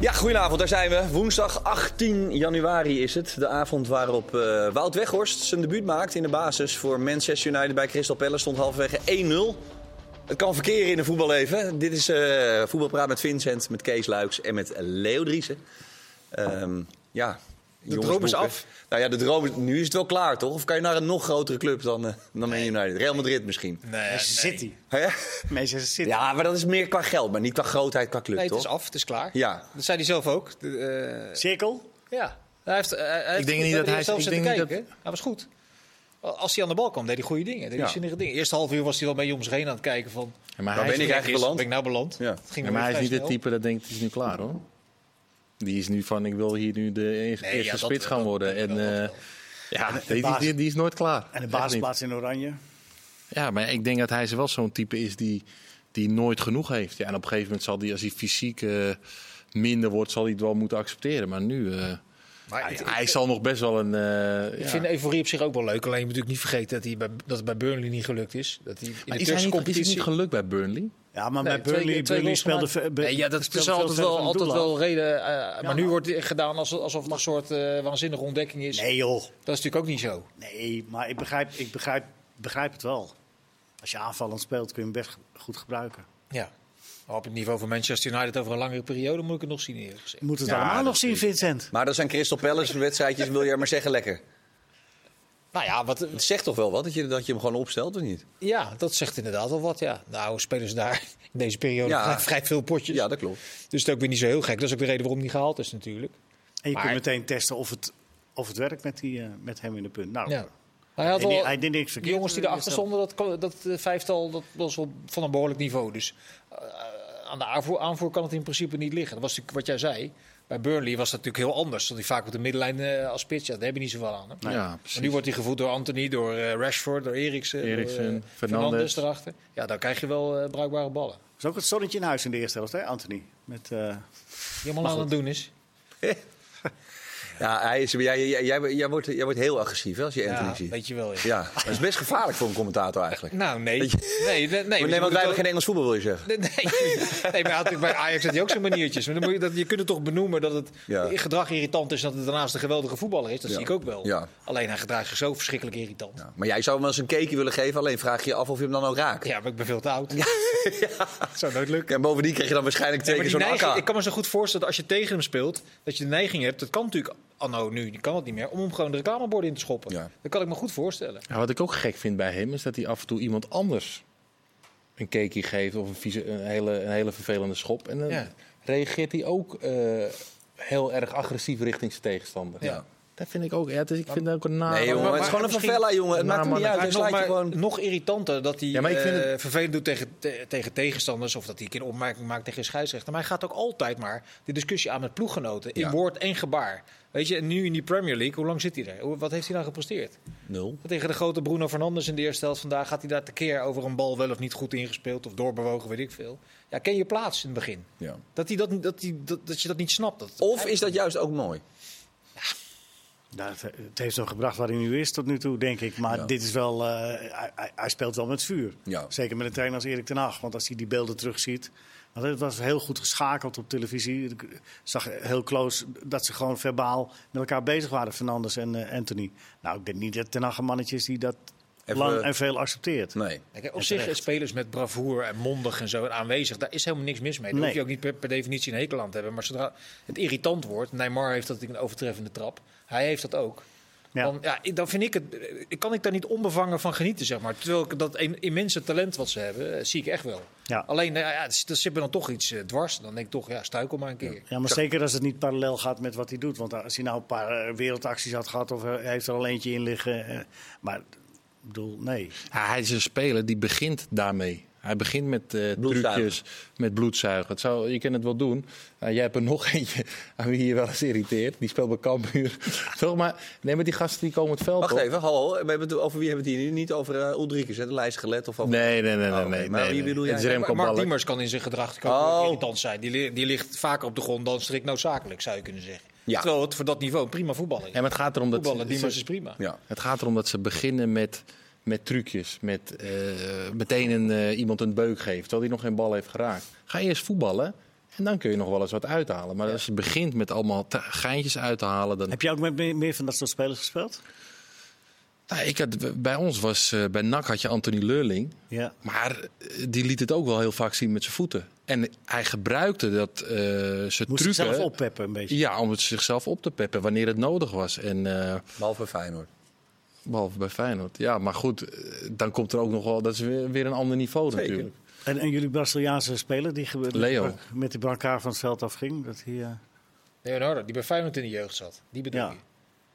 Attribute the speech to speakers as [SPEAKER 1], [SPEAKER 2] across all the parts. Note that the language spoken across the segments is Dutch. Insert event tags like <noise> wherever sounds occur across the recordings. [SPEAKER 1] Ja, goedenavond, daar zijn we. Woensdag 18 januari is het. De avond waarop eh, Wout Weghorst zijn debuut maakt in de basis voor Manchester United bij Crystal Palace. Stond halverwege 1-0. Het kan verkeren in een voetballeven. Dit is eh, Voetbalpraat met Vincent, met Kees Luiks en met Leo Driessen. Ehm, ja, de
[SPEAKER 2] droom is af.
[SPEAKER 1] Nou ja, de droom is, nu is het wel klaar, toch? Of kan je naar een nog grotere club dan, eh, dan Man United? Real Madrid misschien.
[SPEAKER 2] Nee,
[SPEAKER 3] City.
[SPEAKER 1] Hè?
[SPEAKER 3] Manchester City.
[SPEAKER 1] Ja, maar dat is meer qua geld, maar niet qua grootheid, qua club,
[SPEAKER 2] nee, het
[SPEAKER 1] toch?
[SPEAKER 2] is af, het is klaar.
[SPEAKER 1] Ja.
[SPEAKER 2] Dat zei hij zelf ook. De, eh,
[SPEAKER 3] Cirkel.
[SPEAKER 2] ja. Hij heeft, eh, hij heeft goed-
[SPEAKER 4] denk niet
[SPEAKER 2] we
[SPEAKER 4] dat
[SPEAKER 2] hebben
[SPEAKER 4] hij-
[SPEAKER 2] zelf
[SPEAKER 4] ik
[SPEAKER 2] zitten
[SPEAKER 4] denk niet
[SPEAKER 2] kijken. Hij was goed. Als hij aan de bal kwam, deed hij goede dingen. Deed hij
[SPEAKER 1] Ja.
[SPEAKER 2] zinnige dingen. Eerste half uur was hij wel bij jongens heen aan het kijken van...
[SPEAKER 4] Ja, maar
[SPEAKER 1] Waar
[SPEAKER 4] hij,
[SPEAKER 1] ben
[SPEAKER 4] is,
[SPEAKER 1] ik eigenlijk
[SPEAKER 2] Ben
[SPEAKER 1] beland?
[SPEAKER 2] ik nou beland?
[SPEAKER 1] Ja.
[SPEAKER 2] Het ging wel
[SPEAKER 4] ja, maar hij is
[SPEAKER 2] vrij
[SPEAKER 4] niet het
[SPEAKER 2] snel.
[SPEAKER 4] type dat denkt, het is nu klaar hoor. Die is nu van, ik wil hier nu de e- eerste
[SPEAKER 2] ja, dat
[SPEAKER 4] spits
[SPEAKER 2] wel,
[SPEAKER 4] gaan worden. En eh, ja, die, die- die, die is nooit klaar.
[SPEAKER 3] En de
[SPEAKER 4] Echt
[SPEAKER 3] basisplaats in Oranje.
[SPEAKER 4] niet. Ja, maar ik denk dat hij wel zo'n type is die, die nooit genoeg heeft. Ja, en op een gegeven moment zal hij, als hij fysiek eh, minder wordt, zal hij het wel moeten accepteren. Maar nu, eh, hij, hij zal nog best wel een... eh,
[SPEAKER 2] Ik
[SPEAKER 4] ja.
[SPEAKER 2] vind euforie op zich ook wel leuk. Alleen je moet natuurlijk niet vergeten dat, hij bij, dat het bij Burnley niet gelukt is. Dat hij in
[SPEAKER 4] Maar
[SPEAKER 2] de
[SPEAKER 4] is hij
[SPEAKER 2] Turkse
[SPEAKER 4] niet, is het
[SPEAKER 2] competitie...
[SPEAKER 4] niet gelukt bij Burnley?
[SPEAKER 3] Ja, maar
[SPEAKER 2] Nee,
[SPEAKER 3] bij
[SPEAKER 2] twee
[SPEAKER 3] Burnley,
[SPEAKER 2] keer- twee
[SPEAKER 3] Burnley
[SPEAKER 2] goals
[SPEAKER 3] speelde...
[SPEAKER 2] gemaakt.
[SPEAKER 3] ve- Bur-
[SPEAKER 2] Nee, ja, dat is
[SPEAKER 3] speelde veel
[SPEAKER 2] altijd
[SPEAKER 3] verder
[SPEAKER 2] wel,
[SPEAKER 3] van het
[SPEAKER 2] altijd
[SPEAKER 3] doel af.
[SPEAKER 2] wel reden. eh, eh, maar nu
[SPEAKER 3] maar-
[SPEAKER 2] wordt het gedaan alsof, alsof het een soort eh, waanzinnige ontdekking is.
[SPEAKER 3] Nee joh,
[SPEAKER 2] Dat is natuurlijk ook niet zo.
[SPEAKER 3] nee, maar ik begrijp, ik begrijp, begrijp het wel. Als je aanvallend speelt kun je hem best goed gebruiken.
[SPEAKER 2] Ja. Maar op het niveau van Manchester United over een langere periode moet ik het nog zien eerlijk gezegd.
[SPEAKER 3] Je moet het
[SPEAKER 4] Ja,
[SPEAKER 3] allemaal
[SPEAKER 4] dat
[SPEAKER 3] nog zien, Vincent.
[SPEAKER 1] Maar dat zijn Crystal Palace wedstrijdjes, wil jij maar zeggen, lekker.
[SPEAKER 2] Nou ja, wat,
[SPEAKER 1] Het zegt toch wel wat dat je, dat je hem gewoon opstelt, of niet?
[SPEAKER 2] ja, dat zegt inderdaad al wat. Ja. Nou, spelen ze daar <laughs> in deze periode
[SPEAKER 1] Ja.
[SPEAKER 2] <laughs> vrij veel potjes.
[SPEAKER 1] Ja, dat klopt.
[SPEAKER 2] Dus het is ook weer niet zo heel gek. Dat is ook de reden waarom hij gehaald is natuurlijk.
[SPEAKER 3] En je
[SPEAKER 2] Maar-
[SPEAKER 3] kunt meteen testen of het, of het werkt met, die, eh, met hem in de punt. Nou,
[SPEAKER 2] Ja. Hij had
[SPEAKER 3] hij, deed-
[SPEAKER 2] wel,
[SPEAKER 3] hij deed niks
[SPEAKER 2] de
[SPEAKER 3] verkeerd. eh,
[SPEAKER 2] jongens die erachter stonden, dat, kon- dat eh, vijftal, dat was wel van een behoorlijk niveau. Dus eh, aan de aanvoer, aanvoer kan het in principe niet liggen. Dat was natuurlijk wat jij zei. Bij Burnley was dat natuurlijk heel anders. Stond hij vaak op de middenlijn eh, als spits. Ja, daar heb je niet zoveel aan. Hè?
[SPEAKER 4] Ja,
[SPEAKER 2] Maar nu wordt hij gevoed door Anthony, door eh, Rashford, door Eriksen,
[SPEAKER 4] Eriksen,
[SPEAKER 2] door, eh,
[SPEAKER 4] Fernandes.
[SPEAKER 2] erachter. Ja, dan krijg je wel eh, bruikbare ballen.
[SPEAKER 3] Dat is ook het zonnetje in huis in de eerste helft, hè, Anthony? Met, eh,
[SPEAKER 2] Die allemaal aan het doen is.
[SPEAKER 1] Ja, hij is, jij, jij, jij, jij wordt, jij wordt heel agressief hè, als je Anthony
[SPEAKER 2] Ja,
[SPEAKER 1] ziet.
[SPEAKER 2] weet je wel. ja.
[SPEAKER 1] Ja, dat is best gevaarlijk voor een commentator eigenlijk.
[SPEAKER 2] Nou, nee. Nee, nee,
[SPEAKER 1] Nee,
[SPEAKER 2] nee, je
[SPEAKER 1] want
[SPEAKER 2] moet
[SPEAKER 1] wij
[SPEAKER 2] wel-
[SPEAKER 1] hebben geen Engels voetbal, wil je zeggen.
[SPEAKER 2] <laughs> Nee, nee. nee maar hij had natuurlijk bij Ajax had hij ook zijn maniertjes. Maar dan moet je, dat, je kunt het toch benoemen dat het
[SPEAKER 1] Ja.
[SPEAKER 2] gedrag irritant is... en dat het daarnaast een geweldige voetballer is. Dat
[SPEAKER 1] Ja.
[SPEAKER 2] zie ik ook wel.
[SPEAKER 1] Ja.
[SPEAKER 2] Alleen hij gedraagt zich zo verschrikkelijk irritant. Ja.
[SPEAKER 1] Ja, maar jij zou hem wel eens een cakeje willen geven, alleen vraag je je af of je hem dan ook raakt.
[SPEAKER 2] maar ik ben veel te oud. <laughs> Ja. zou nooit lukken.
[SPEAKER 1] En bovendien krijg je dan waarschijnlijk twee
[SPEAKER 2] Ja, maar
[SPEAKER 1] keer
[SPEAKER 2] die
[SPEAKER 1] zo'n
[SPEAKER 2] neiging-
[SPEAKER 1] akka.
[SPEAKER 2] ik kan me zo goed voorstellen dat als je tegen hem speelt, dat je de neiging hebt, dat kan natuurlijk anno nu, die kan het niet meer, om hem gewoon de reclameborden in te schoppen.
[SPEAKER 1] Ja.
[SPEAKER 2] Dat kan ik me goed voorstellen.
[SPEAKER 4] Ja, Nou, wat ik ook gek vind bij hem is dat hij af en toe iemand anders een cakeje geeft of een, vieze- een, hele, een hele vervelende schop. En dan
[SPEAKER 2] Ja.
[SPEAKER 4] reageert hij ook eh, heel erg agressief richting zijn tegenstander.
[SPEAKER 2] Ja.
[SPEAKER 4] Dat vind ik ook. Ja, het is, ik vind dat ook een
[SPEAKER 1] Nee,
[SPEAKER 4] nare.
[SPEAKER 1] jongen,
[SPEAKER 2] maar-
[SPEAKER 1] het is
[SPEAKER 2] maar
[SPEAKER 1] gewoon een
[SPEAKER 2] misschien-
[SPEAKER 1] favela, jongen. Het
[SPEAKER 4] Nou,
[SPEAKER 1] maakt hem
[SPEAKER 4] maar
[SPEAKER 1] niet uit,
[SPEAKER 2] Maar
[SPEAKER 1] dan
[SPEAKER 2] nog,
[SPEAKER 1] slaat je
[SPEAKER 2] maar
[SPEAKER 1] gewoon...
[SPEAKER 2] nog irritanter dat hij
[SPEAKER 4] Ja, maar ik vind
[SPEAKER 2] eh,
[SPEAKER 4] het-
[SPEAKER 2] vervelend doet tegen, te- tegen tegenstanders of dat hij een keer een opmerking maakt tegen een scheidsrechter. Maar hij gaat ook altijd maar de discussie aan met ploeggenoten in
[SPEAKER 1] Ja.
[SPEAKER 2] woord en gebaar. Weet je, en nu in die Premier League, hoe lang zit hij er? Hoe- Wat heeft hij nou gepresteerd?
[SPEAKER 1] Nul.
[SPEAKER 2] Tegen de grote Bruno Fernandes in de eerste helft vandaag gaat hij daar tekeer over een bal wel of niet goed ingespeeld of doorbewogen, weet ik veel. Ja, ken je plaats in het begin.
[SPEAKER 1] Ja.
[SPEAKER 2] Dat, hij dat, dat, hij dat, dat je dat niet snapt. Dat,
[SPEAKER 1] Of is dat juist ook mooi?
[SPEAKER 3] nou, het, het heeft hem gebracht waar hij nu is tot nu toe, denk ik. Maar dit is wel, eh, hij, hij- hij speelt wel met vuur.
[SPEAKER 1] Ja.
[SPEAKER 3] Zeker met een trainer als Erik ten Hag. Want als hij die beelden terugziet... Want het was heel goed geschakeld op televisie. Ik zag heel close dat ze gewoon verbaal met elkaar bezig waren, Fernandes en eh, Anthony. Nou, ik denk niet dat Ten Hag een mannetje is die dat
[SPEAKER 1] Even- Nou,
[SPEAKER 3] lang en veel accepteert.
[SPEAKER 1] Nee.
[SPEAKER 2] Kijk, op zich eh, spelers met bravoer en mondig en zo en aanwezig, daar is helemaal niks mis mee. Daar
[SPEAKER 3] Nee.
[SPEAKER 2] hoef je ook niet per, per definitie een hekel aan te hebben. Maar zodra het irritant wordt, Neymar heeft dat natuurlijk een overtreffende trap. Hij heeft dat ook.
[SPEAKER 3] Ja.
[SPEAKER 2] Dan, ja, ik- dan vind ik het, ik kan ik daar niet onbevangen van genieten, zeg maar. Terwijl ik dat een, immense talent wat ze hebben, eh, zie ik echt wel.
[SPEAKER 3] Ja.
[SPEAKER 2] Alleen, nou ja, het- er zit me dan toch iets eh, dwars. Dan denk ik toch, ja, stuikel maar een keer.
[SPEAKER 3] Ja, maar zeker als het niet parallel gaat met wat hij doet. Want als hij nou een paar eh, wereldacties had gehad of eh, hij heeft er al eentje in liggen. eh, maar ik bedoel, nee.
[SPEAKER 4] Ja, Ah, hij is een speler die begint daarmee. Hij begint met eh
[SPEAKER 1] Bloedzuigen.
[SPEAKER 4] trucjes, met bloedzuigen. Het zou, je kan het wel doen. Nou, jij hebt er nog <laughs> eentje aan wie je wel eens irriteert. Die speelt bij Kampuur. <laughs> Toch? Maar, nee, maar die gasten die komen het veld
[SPEAKER 1] Wacht
[SPEAKER 4] op.
[SPEAKER 1] even, hallo. We hebben het, over wie hebben we het hier nu? Niet over eh Ulrikus, hè, de lijst gelet of over...
[SPEAKER 4] Nee, nee, nee. nee,
[SPEAKER 1] Oh,
[SPEAKER 4] nee,
[SPEAKER 1] maar
[SPEAKER 4] nee,
[SPEAKER 1] wie
[SPEAKER 4] nee.
[SPEAKER 1] bedoel
[SPEAKER 4] Het is
[SPEAKER 1] jij?
[SPEAKER 4] Remco
[SPEAKER 2] Maar Mark
[SPEAKER 4] Balk.
[SPEAKER 2] Diemers kan in zijn gedrag ook
[SPEAKER 1] Oh.
[SPEAKER 2] wel irritant zijn. Die, li- die ligt vaker op de grond dan strikt noodzakelijk, zou je kunnen zeggen.
[SPEAKER 1] Ja.
[SPEAKER 2] Terwijl het voor dat niveau een prima voetballer is.
[SPEAKER 4] Ja, maar het gaat erom dat
[SPEAKER 2] Voetballen,
[SPEAKER 4] ze-
[SPEAKER 2] Diemers is prima.
[SPEAKER 1] Ja.
[SPEAKER 4] Het gaat erom dat ze beginnen met, met trucjes. Met eh, meteen een, eh, iemand een beuk geeft, terwijl hij nog geen bal heeft geraakt. Ga eerst voetballen. En dan kun je nog wel eens wat uithalen. Maar als je begint met allemaal te- geintjes uit te halen, dan
[SPEAKER 3] Heb je ook met meer, meer van dat soort spelers gespeeld?
[SPEAKER 4] Nou, ik had, bij ons was, eh, bij NAC had je Anthony Leurling.
[SPEAKER 3] Ja.
[SPEAKER 4] Maar eh, die liet het ook wel heel vaak zien met zijn voeten. En hij gebruikte dat eh zijn
[SPEAKER 3] Moest
[SPEAKER 4] trucken.
[SPEAKER 3] zichzelf oppeppen een beetje.
[SPEAKER 4] Ja, om het zichzelf op te peppen wanneer het nodig was. En eh,
[SPEAKER 1] Behalve bij Feyenoord.
[SPEAKER 4] behalve bij Feyenoord. Ja, maar goed, eh, dan komt er ook nog wel. Dat is weer, weer een ander niveau
[SPEAKER 1] Zeker.
[SPEAKER 4] natuurlijk.
[SPEAKER 3] En, en jullie Braziliaanse speler die ge-
[SPEAKER 4] Leo.
[SPEAKER 3] met die brancard van het veld afging? Dat eh, hier,
[SPEAKER 2] Leonardo, die bij Feyenoord in de jeugd zat. Die bedoel
[SPEAKER 3] Ja.
[SPEAKER 2] je.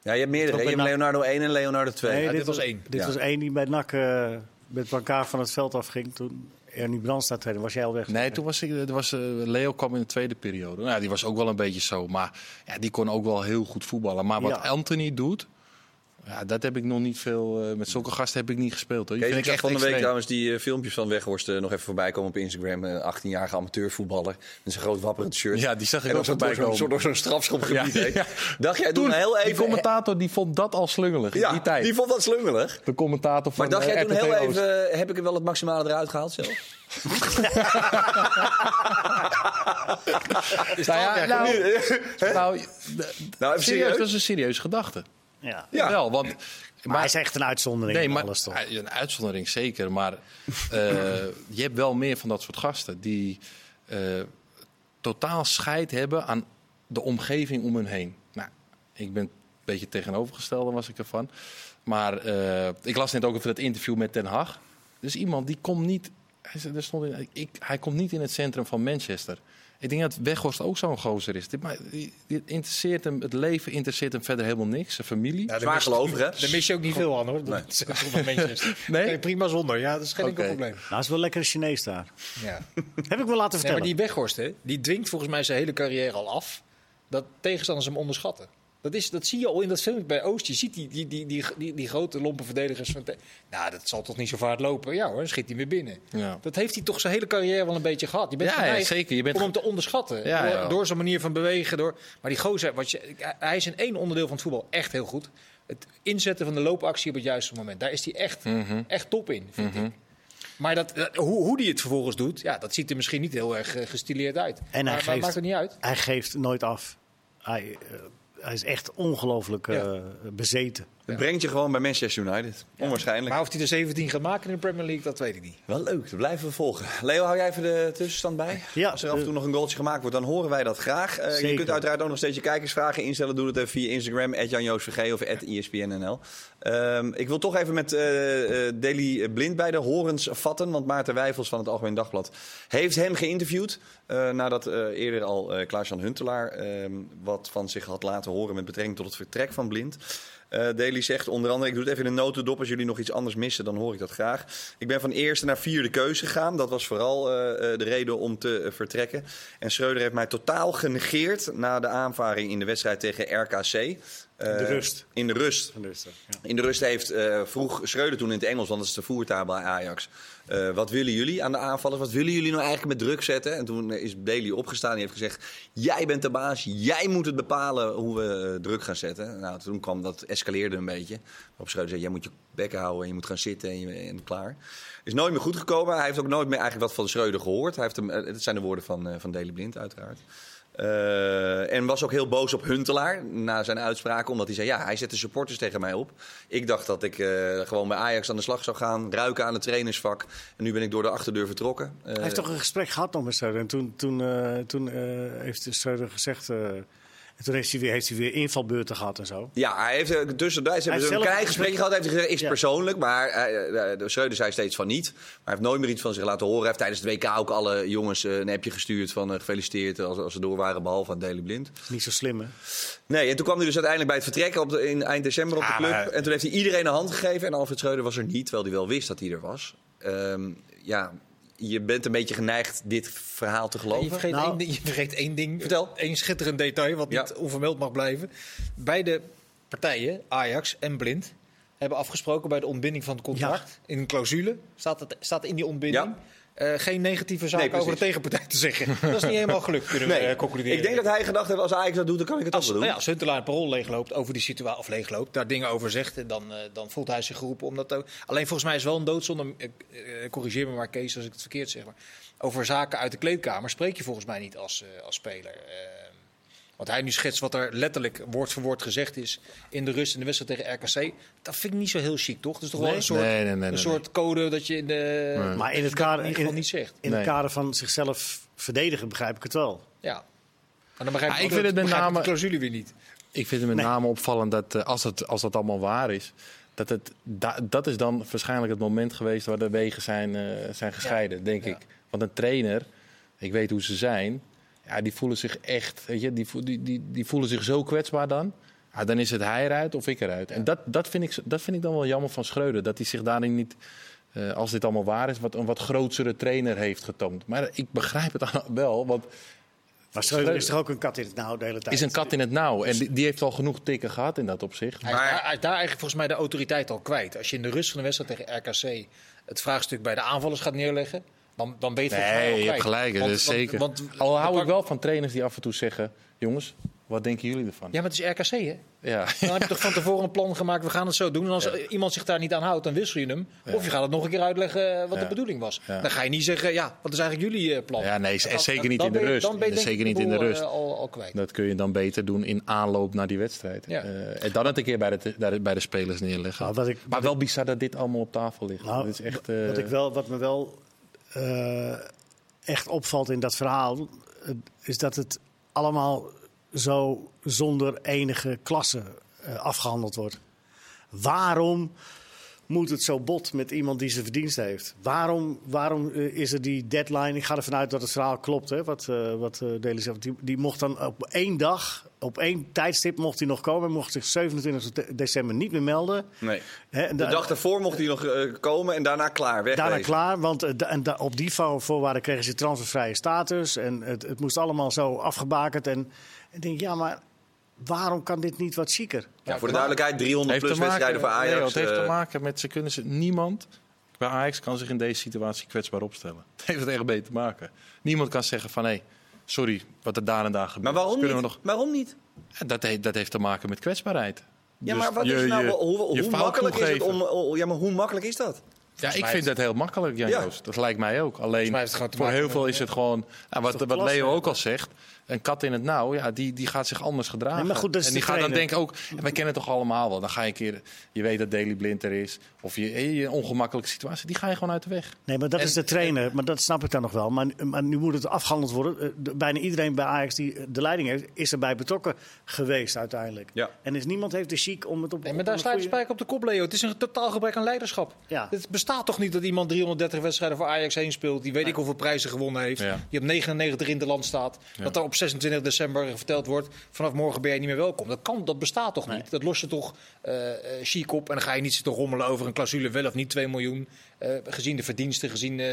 [SPEAKER 1] Ja, je hebt meerdere.
[SPEAKER 3] Ook
[SPEAKER 1] hè? Je
[SPEAKER 3] bij
[SPEAKER 1] hebt Leonardo 1 en Leonardo 2.
[SPEAKER 2] dit was één.
[SPEAKER 3] Dit
[SPEAKER 1] Ja.
[SPEAKER 3] was één die bij NAC eh, met brancard van het veld afging toen Ernie Brandstad trainde. Was jij al weg?
[SPEAKER 4] Nee, toen was ik. er Was, eh, Leo kwam in de tweede periode. Nou, die was ook wel een beetje zo. Maar ja, die kon ook wel heel goed voetballen. Maar wat
[SPEAKER 3] Ja.
[SPEAKER 4] Anthony doet. Ja, dat heb ik nog niet veel. eh, met zulke gasten heb ik niet gespeeld. Hoor. Die
[SPEAKER 1] Kees, ik
[SPEAKER 4] vind ik
[SPEAKER 1] zag van
[SPEAKER 4] echt
[SPEAKER 1] de week
[SPEAKER 4] extreem.
[SPEAKER 1] trouwens die eh, filmpjes van Weghorst eh, nog even voorbij komen op Instagram. Een 18-jarige amateurvoetballer met zijn groot wapperend shirt.
[SPEAKER 4] Ja, die zag ik
[SPEAKER 1] en
[SPEAKER 4] ook
[SPEAKER 1] zo
[SPEAKER 4] voorbij
[SPEAKER 1] door zo'n-
[SPEAKER 4] komen.
[SPEAKER 1] zo door zo'n strafschopgebied
[SPEAKER 4] Ja,
[SPEAKER 1] heen.
[SPEAKER 4] ja.
[SPEAKER 1] Dacht jij toen, heel
[SPEAKER 4] Die
[SPEAKER 1] even...
[SPEAKER 4] commentator die vond dat al slungelig
[SPEAKER 1] ja,
[SPEAKER 4] in die tijd.
[SPEAKER 1] vond dat slungelig.
[SPEAKER 4] De commentator van
[SPEAKER 1] Maar dacht
[SPEAKER 4] eh,
[SPEAKER 1] jij toen
[SPEAKER 4] RTV
[SPEAKER 1] heel
[SPEAKER 4] Oost.
[SPEAKER 1] even, eh, heb ik er wel het maximale eruit gehaald zelf?
[SPEAKER 4] <laughs> Nou ja, nou, nou,
[SPEAKER 1] Nou, even
[SPEAKER 4] serieus, dat
[SPEAKER 1] serieus.
[SPEAKER 4] is een serieuze gedachte.
[SPEAKER 3] Ja. Maar,
[SPEAKER 1] Ja.
[SPEAKER 4] Wel, want, maar,
[SPEAKER 3] hij is echt een uitzondering
[SPEAKER 4] nee,
[SPEAKER 3] in
[SPEAKER 4] maar,
[SPEAKER 3] alles toch?
[SPEAKER 4] een uitzondering zeker. Maar eh, je hebt wel meer van dat soort gasten die eh, totaal scheid hebben aan de omgeving om hun heen. Nou, ik ben een beetje tegenovergestelde was ik ervan. Maar eh, ik las net ook even dat interview met Ten Hag. Dus iemand die komt niet. Hij, zei- er stond in, ik, hij komt niet in het centrum van Manchester. Ik denk dat Weghorst ook zo'n gozer is. Dit, maar, dit- dit interesseert hem, het leven interesseert hem verder helemaal niks. Zijn familie.
[SPEAKER 2] Ja,
[SPEAKER 1] Zwaar gelovig, hè?
[SPEAKER 2] Daar mis je ook niet veel aan hoor. Dat is van
[SPEAKER 1] <laughs>
[SPEAKER 2] Manchester.
[SPEAKER 4] Nee?
[SPEAKER 2] Kan je prima zonder. Ja, dat is geen enkel
[SPEAKER 4] Oké.
[SPEAKER 2] probleem.
[SPEAKER 3] Nou, het is wel lekker Chinees daar. <laughs>
[SPEAKER 2] Ja.
[SPEAKER 3] Heb ik me laten
[SPEAKER 2] Nee,
[SPEAKER 3] vertellen.
[SPEAKER 2] maar die Weghorst, hè, die dwingt volgens mij zijn hele carrière al af dat tegenstanders hem onderschatten. Dat, is, dat zie je al in dat filmpje bij Oost. Je ziet die, die, die, die, die, die grote lompe verdedigers. Van te- nou, dat zal toch niet zo vaart lopen? Ja hoor, schiet hij weer binnen.
[SPEAKER 4] Ja.
[SPEAKER 2] Dat heeft hij toch zijn hele carrière wel een beetje gehad. Je bent
[SPEAKER 4] Ja, ja,
[SPEAKER 2] geneigd
[SPEAKER 4] zeker. Je bent
[SPEAKER 2] om
[SPEAKER 4] ge-
[SPEAKER 2] hem te onderschatten.
[SPEAKER 4] Ja,
[SPEAKER 2] door,
[SPEAKER 4] ja.
[SPEAKER 2] door zijn manier van bewegen. Door, maar die gozer, wat je, hij is in één onderdeel van het voetbal echt heel goed. Het inzetten van de loopactie op het juiste moment. Daar is hij echt,
[SPEAKER 4] Mhm.
[SPEAKER 2] echt top in, vind ik. Maar dat, dat- hoe, hoe die het vervolgens doet, ja, dat ziet er misschien niet heel erg eh, gestileerd uit.
[SPEAKER 3] hij
[SPEAKER 2] maar, maar
[SPEAKER 3] geeft-
[SPEAKER 2] maakt het niet uit.
[SPEAKER 3] Hij geeft nooit af. Hij, eh, hij is echt ongelooflijk eh, bezeten.
[SPEAKER 1] Het brengt je gewoon bij Manchester United. Onwaarschijnlijk.
[SPEAKER 2] Maar of hij er 17 gaat maken in de Premier League, dat weet ik niet.
[SPEAKER 1] Wel leuk, dat blijven we volgen. Leo, hou jij even de tussenstand bij?
[SPEAKER 3] Ja,
[SPEAKER 1] Als er af en toe
[SPEAKER 3] eh,
[SPEAKER 1] nog een goaltje gemaakt wordt, dan horen wij dat graag. Eh, je
[SPEAKER 3] Zeker.
[SPEAKER 1] kunt uiteraard ook nog steeds je kijkersvragen instellen. Doe dat even via Instagram, @janjoosvg of E @ispnnl. Ehm, ik wil toch even met eh eh, Deli Blind bij de horens vatten. Want Maarten Wijfels van het Algemeen Dagblad heeft hem geïnterviewd. eh, nadat eh, eerder al eh Klaas-Jan Huntelaar ehm, wat van zich had laten horen met betrekking tot het vertrek van Blind. Eh Daly zegt onder andere, ik doe het even in de notendop. Als jullie nog iets anders missen, dan hoor ik dat graag. Ik ben van eerste naar vierde keuze gegaan. Dat was vooral eh, eh, de reden om te eh, vertrekken. En Schreuder heeft mij totaal genegeerd na de aanvaring in de wedstrijd tegen RKC. de
[SPEAKER 3] rust.
[SPEAKER 1] Eh, In de rust. In de rust heeft, eh, vroeg Schreuder toen in het Engels, want dat is de voertaal bij Ajax. eh, wat willen jullie aan de aanvallers? Wat willen jullie nou eigenlijk met druk zetten? En toen eh, is Daley opgestaan en heeft gezegd: Jij bent de baas, jij moet het bepalen hoe we eh, druk gaan zetten. Nou, toen kwam dat, escaleerde een beetje. Op Schreuder zei: Jij moet je bekken houden en je moet gaan zitten en, je- en klaar. Is nooit meer goed gekomen. Hij heeft ook nooit meer eigenlijk wat van Schreuder gehoord. Hij heeft hem, eh, dat zijn de woorden van, eh, van Daley Blind, uiteraard. Eh, en was ook heel boos op Huntelaar na zijn uitspraken. Omdat hij zei, ja, hij zet de supporters tegen mij op. Ik dacht dat ik eh, gewoon bij Ajax aan de slag zou gaan. Ruiken aan het trainersvak. En nu ben ik door de achterdeur vertrokken. Eh,
[SPEAKER 3] Hij heeft toch een gesprek gehad nog met Schreuder. En toen, toen, eh, toen eh, heeft Schreuder gezegd... eh, en toen heeft hij, weer, heeft hij weer invalbeurten gehad en zo.
[SPEAKER 1] Ja, hij heeft eh, tussendijds hebben
[SPEAKER 3] heeft
[SPEAKER 1] ze een
[SPEAKER 3] zelf-
[SPEAKER 1] klein gesprekje gehad. Hij heeft gezegd, is
[SPEAKER 3] Ja.
[SPEAKER 1] persoonlijk. Maar eh, eh, de Schreuder zei steeds van niet. Maar hij heeft nooit meer iets van zich laten horen. Hij heeft tijdens het WK ook alle jongens eh, een appje gestuurd van eh, gefeliciteerd als, als ze door waren. Behalve aan Daley Blind.
[SPEAKER 3] Niet zo slim, hè?
[SPEAKER 1] Nee, en toen kwam hij dus uiteindelijk bij het vertrekken op de, in eind december op de club. En toen heeft hij iedereen een hand gegeven. En Alfred Schreuder was er niet, terwijl hij wel wist dat hij er was. Ehm, ja, je bent een beetje geneigd dit verhaal te
[SPEAKER 2] En Je
[SPEAKER 1] geloven.
[SPEAKER 2] vergeet,
[SPEAKER 3] Nou.
[SPEAKER 2] één, ding- je vergeet één ding,
[SPEAKER 1] Vertel.
[SPEAKER 2] één schitterend detail wat
[SPEAKER 1] Ja.
[SPEAKER 2] niet onvermeld mag blijven. Beide partijen, Ajax en Blind, hebben afgesproken bij de ontbinding van het contract. In een clausule staat, het, staat in die ontbinding
[SPEAKER 1] Ja.
[SPEAKER 2] eh, geen negatieve zaken
[SPEAKER 1] precies.
[SPEAKER 2] over de tegenpartij te zeggen. dat is niet helemaal gelukt, kunnen we eh, concluderen.
[SPEAKER 1] ik denk dat hij gedacht heeft, als Ajax dat doet, dan kan ik het ook
[SPEAKER 2] Als,
[SPEAKER 1] wel
[SPEAKER 2] nou
[SPEAKER 1] doen.
[SPEAKER 2] ja, als Huntelaar het parool leegloopt over die situatie, of leegloopt, daar dingen over zegt, en dan, eh, dan voelt hij zich geroepen. Omdat ook, alleen volgens mij is wel een doodzonde, eh, eh, corrigeer me maar Kees als ik het verkeerd zeg, maar over zaken uit de kleedkamer spreek je volgens mij niet als, eh, als speler. Eh, want hij nu schetst wat er letterlijk woord voor woord gezegd is in de rust in de wedstrijd tegen RKC. Dat vind ik niet zo heel chic, toch? Dat is toch wel
[SPEAKER 4] Nee?
[SPEAKER 2] een soort,
[SPEAKER 4] Nee, nee, nee, nee,
[SPEAKER 2] een
[SPEAKER 4] nee.
[SPEAKER 2] soort code dat je in de...
[SPEAKER 4] Nee.
[SPEAKER 3] Maar in het
[SPEAKER 2] dat
[SPEAKER 3] kader,
[SPEAKER 2] in ieder
[SPEAKER 3] in,
[SPEAKER 2] geval niet zegt.
[SPEAKER 3] in het
[SPEAKER 4] Nee.
[SPEAKER 3] kader van zichzelf verdedigen begrijp ik het wel.
[SPEAKER 2] Ja. Maar dan begrijp
[SPEAKER 4] Ah,
[SPEAKER 2] ik,
[SPEAKER 4] ik
[SPEAKER 2] ook
[SPEAKER 4] vind het met
[SPEAKER 2] begrijp ik
[SPEAKER 4] name-
[SPEAKER 2] de clausule weer niet.
[SPEAKER 4] Ik vind het met name opvallend dat eh, als, het, als dat allemaal waar is, dat, het, da- dat is dan waarschijnlijk het moment geweest waar de wegen zijn, eh, zijn gescheiden, denk
[SPEAKER 2] Ja.
[SPEAKER 4] ik. Want een trainer, ik weet hoe ze zijn, ja, die voelen zich echt, weet je, die, vo- die, die, die voelen zich zo kwetsbaar dan. Ja, dan is het hij eruit of ik eruit. En dat, dat, vind ik, zo- dat vind ik dan wel jammer van Schreuder, dat hij zich daarin niet, eh, als dit allemaal waar is, wat, een wat grootsere trainer heeft getoond. Maar ik begrijp het <laughs> wel, want
[SPEAKER 3] Maar Schreuder is
[SPEAKER 4] Schreuder-
[SPEAKER 3] toch ook een kat in het nauw de hele tijd.
[SPEAKER 4] is een kat in het nauw. En die, die heeft al genoeg tikken gehad in dat opzicht.
[SPEAKER 2] Hij, is daar, hij is daar eigenlijk volgens mij de autoriteit al kwijt. Als je in de rust van de wedstrijd tegen RKC het vraagstuk bij de aanvallers gaat neerleggen, dan, dan ben je het volgens mij al
[SPEAKER 4] Nee, je hebt
[SPEAKER 2] kwijt.
[SPEAKER 4] gelijk.
[SPEAKER 2] Want-
[SPEAKER 4] dat is
[SPEAKER 2] want-
[SPEAKER 4] zeker.
[SPEAKER 2] Want,
[SPEAKER 4] Al hou
[SPEAKER 2] pak-
[SPEAKER 4] ik wel van trainers die af en toe zeggen... jongens, wat denken jullie ervan?
[SPEAKER 2] Ja, maar het is RKC, hè?
[SPEAKER 4] Ja.
[SPEAKER 2] Dan heb je toch van tevoren een plan gemaakt, we gaan het zo doen. En als iemand zich daar niet aan houdt, dan wissel je hem. Of je gaat het nog een keer uitleggen eh, wat de
[SPEAKER 4] Ja.
[SPEAKER 2] bedoening was.
[SPEAKER 4] Ja.
[SPEAKER 2] Dan ga je niet zeggen, ja, wat is eigenlijk jullie eh, plan?
[SPEAKER 4] Ja, nee,
[SPEAKER 2] Dan-
[SPEAKER 4] en zeker niet
[SPEAKER 2] dan
[SPEAKER 4] in de
[SPEAKER 2] ben je-
[SPEAKER 4] rust.
[SPEAKER 2] Dan ben je
[SPEAKER 4] En
[SPEAKER 2] denk ik
[SPEAKER 4] zeker niet
[SPEAKER 2] de
[SPEAKER 4] in de
[SPEAKER 2] boel, eh,
[SPEAKER 4] rust.
[SPEAKER 2] al, al kwijt.
[SPEAKER 4] Dat kun je dan beter doen in aanloop naar die wedstrijd.
[SPEAKER 2] Ja.
[SPEAKER 4] Eh, en dan het een keer bij de, te- daar- bij de spelers neerleggen.
[SPEAKER 3] Nou, wat ik-
[SPEAKER 4] maar wel bizar dat dit allemaal op tafel ligt.
[SPEAKER 3] Nou,
[SPEAKER 4] dat is echt,
[SPEAKER 3] wa-
[SPEAKER 4] eh,
[SPEAKER 3] wat, ik wel, wat me wel eh, echt opvalt in dat verhaal, eh, is dat het allemaal zo zonder enige klasse eh, afgehandeld wordt. Waarom moet het zo bot met iemand die zijn verdienst heeft? Waarom, waarom eh, is er die deadline? Ik ga ervan uit dat het verhaal klopt, hè, wat, eh wat eh, Deli zegt. Die, die mocht dan op één dag, op één tijdstip mocht hij nog komen. Hij mocht zich 27 december niet meer melden.
[SPEAKER 1] Nee.
[SPEAKER 3] Hè, en
[SPEAKER 1] De
[SPEAKER 3] da-
[SPEAKER 1] dag daarvoor mocht hij nog eh, komen en daarna klaar. Weg
[SPEAKER 3] Daarna klaar, want eh, da- en da- op die voor- voorwaarden kregen ze transfervrije status. En het, het moest allemaal zo afgebakend. En ik denk, ja, maar waarom kan dit niet wat zieker?
[SPEAKER 1] Ja, voor de duidelijkheid, 300
[SPEAKER 4] heeft te
[SPEAKER 1] plus
[SPEAKER 4] maken,
[SPEAKER 1] wedstrijden voor Ajax.
[SPEAKER 4] nee, het heeft
[SPEAKER 1] eh,
[SPEAKER 4] te maken met ze kunnen ze niemand bij Ajax kan zich in deze situatie kwetsbaar opstellen. <laughs> Het heeft het echt mee te maken. Niemand kan zeggen van hé, sorry wat er daar en daar gebeurt.
[SPEAKER 1] maar waarom
[SPEAKER 4] Kunnen
[SPEAKER 1] niet?
[SPEAKER 4] we nog
[SPEAKER 1] Waarom niet?
[SPEAKER 4] Ja, Dat, he- dat heeft te maken met kwetsbaarheid.
[SPEAKER 1] Ja,
[SPEAKER 4] Dus
[SPEAKER 1] maar wat
[SPEAKER 4] je-
[SPEAKER 1] is nou,
[SPEAKER 4] je-
[SPEAKER 1] hoe, hoe
[SPEAKER 4] je fout
[SPEAKER 1] makkelijk is het
[SPEAKER 4] toegeven.
[SPEAKER 1] om, oh, ja, maar hoe makkelijk is dat?
[SPEAKER 4] Ja, ik vind dat heel makkelijk, Jan
[SPEAKER 1] Ja.
[SPEAKER 4] Joost. Dat lijkt mij ook. Alleen
[SPEAKER 2] mij heeft het gewoon te
[SPEAKER 4] voor
[SPEAKER 2] maken
[SPEAKER 4] heel veel
[SPEAKER 2] met-
[SPEAKER 4] is het gewoon... ja, wat
[SPEAKER 3] toch
[SPEAKER 4] wat
[SPEAKER 3] klasse,
[SPEAKER 4] Leo
[SPEAKER 3] hè?
[SPEAKER 4] ook al zegt, een kat in het nauw, ja, die, die gaat zich anders gedragen.
[SPEAKER 3] Nee, maar goed, dat is
[SPEAKER 4] en die
[SPEAKER 3] de
[SPEAKER 4] gaat dan
[SPEAKER 3] trainer.
[SPEAKER 4] denken ook... en wij kennen het toch allemaal wel. Dan ga je een keer... Je weet dat Daily Blind er is. Of je, hé, je ongemakkelijke situatie, die ga je gewoon uit de weg.
[SPEAKER 3] Nee, maar dat
[SPEAKER 4] En-
[SPEAKER 3] is de trainer. Maar dat snap ik dan nog wel. Maar, maar nu moet het afgehandeld worden. Eh, de- Bijna iedereen bij Ajax die eh, de leiding heeft, is erbij betrokken geweest uiteindelijk.
[SPEAKER 1] Ja.
[SPEAKER 3] En is, niemand heeft de chic om het op
[SPEAKER 2] Nee,
[SPEAKER 3] op
[SPEAKER 2] maar daar
[SPEAKER 3] een
[SPEAKER 2] slaat de
[SPEAKER 3] goede-
[SPEAKER 2] spijker op de kop, Leo. Het is een totaal gebrek aan leiderschap.
[SPEAKER 3] Ja.
[SPEAKER 2] Het bestaat toch niet dat iemand 330 wedstrijden voor Ajax heen speelt. Die weet ik hoeveel prijzen gewonnen heeft.
[SPEAKER 4] Ja.
[SPEAKER 2] Die op 99 in het land staat. Dat daar op 26 december verteld wordt. Vanaf morgen ben je niet meer welkom. Dat, kan, dat bestaat toch niet? Dat los je toch eh, eh, chic op. En dan ga je niet zitten rommelen over een clausule wel of niet 2 miljoen. Eh, gezien de verdiensten, gezien eh,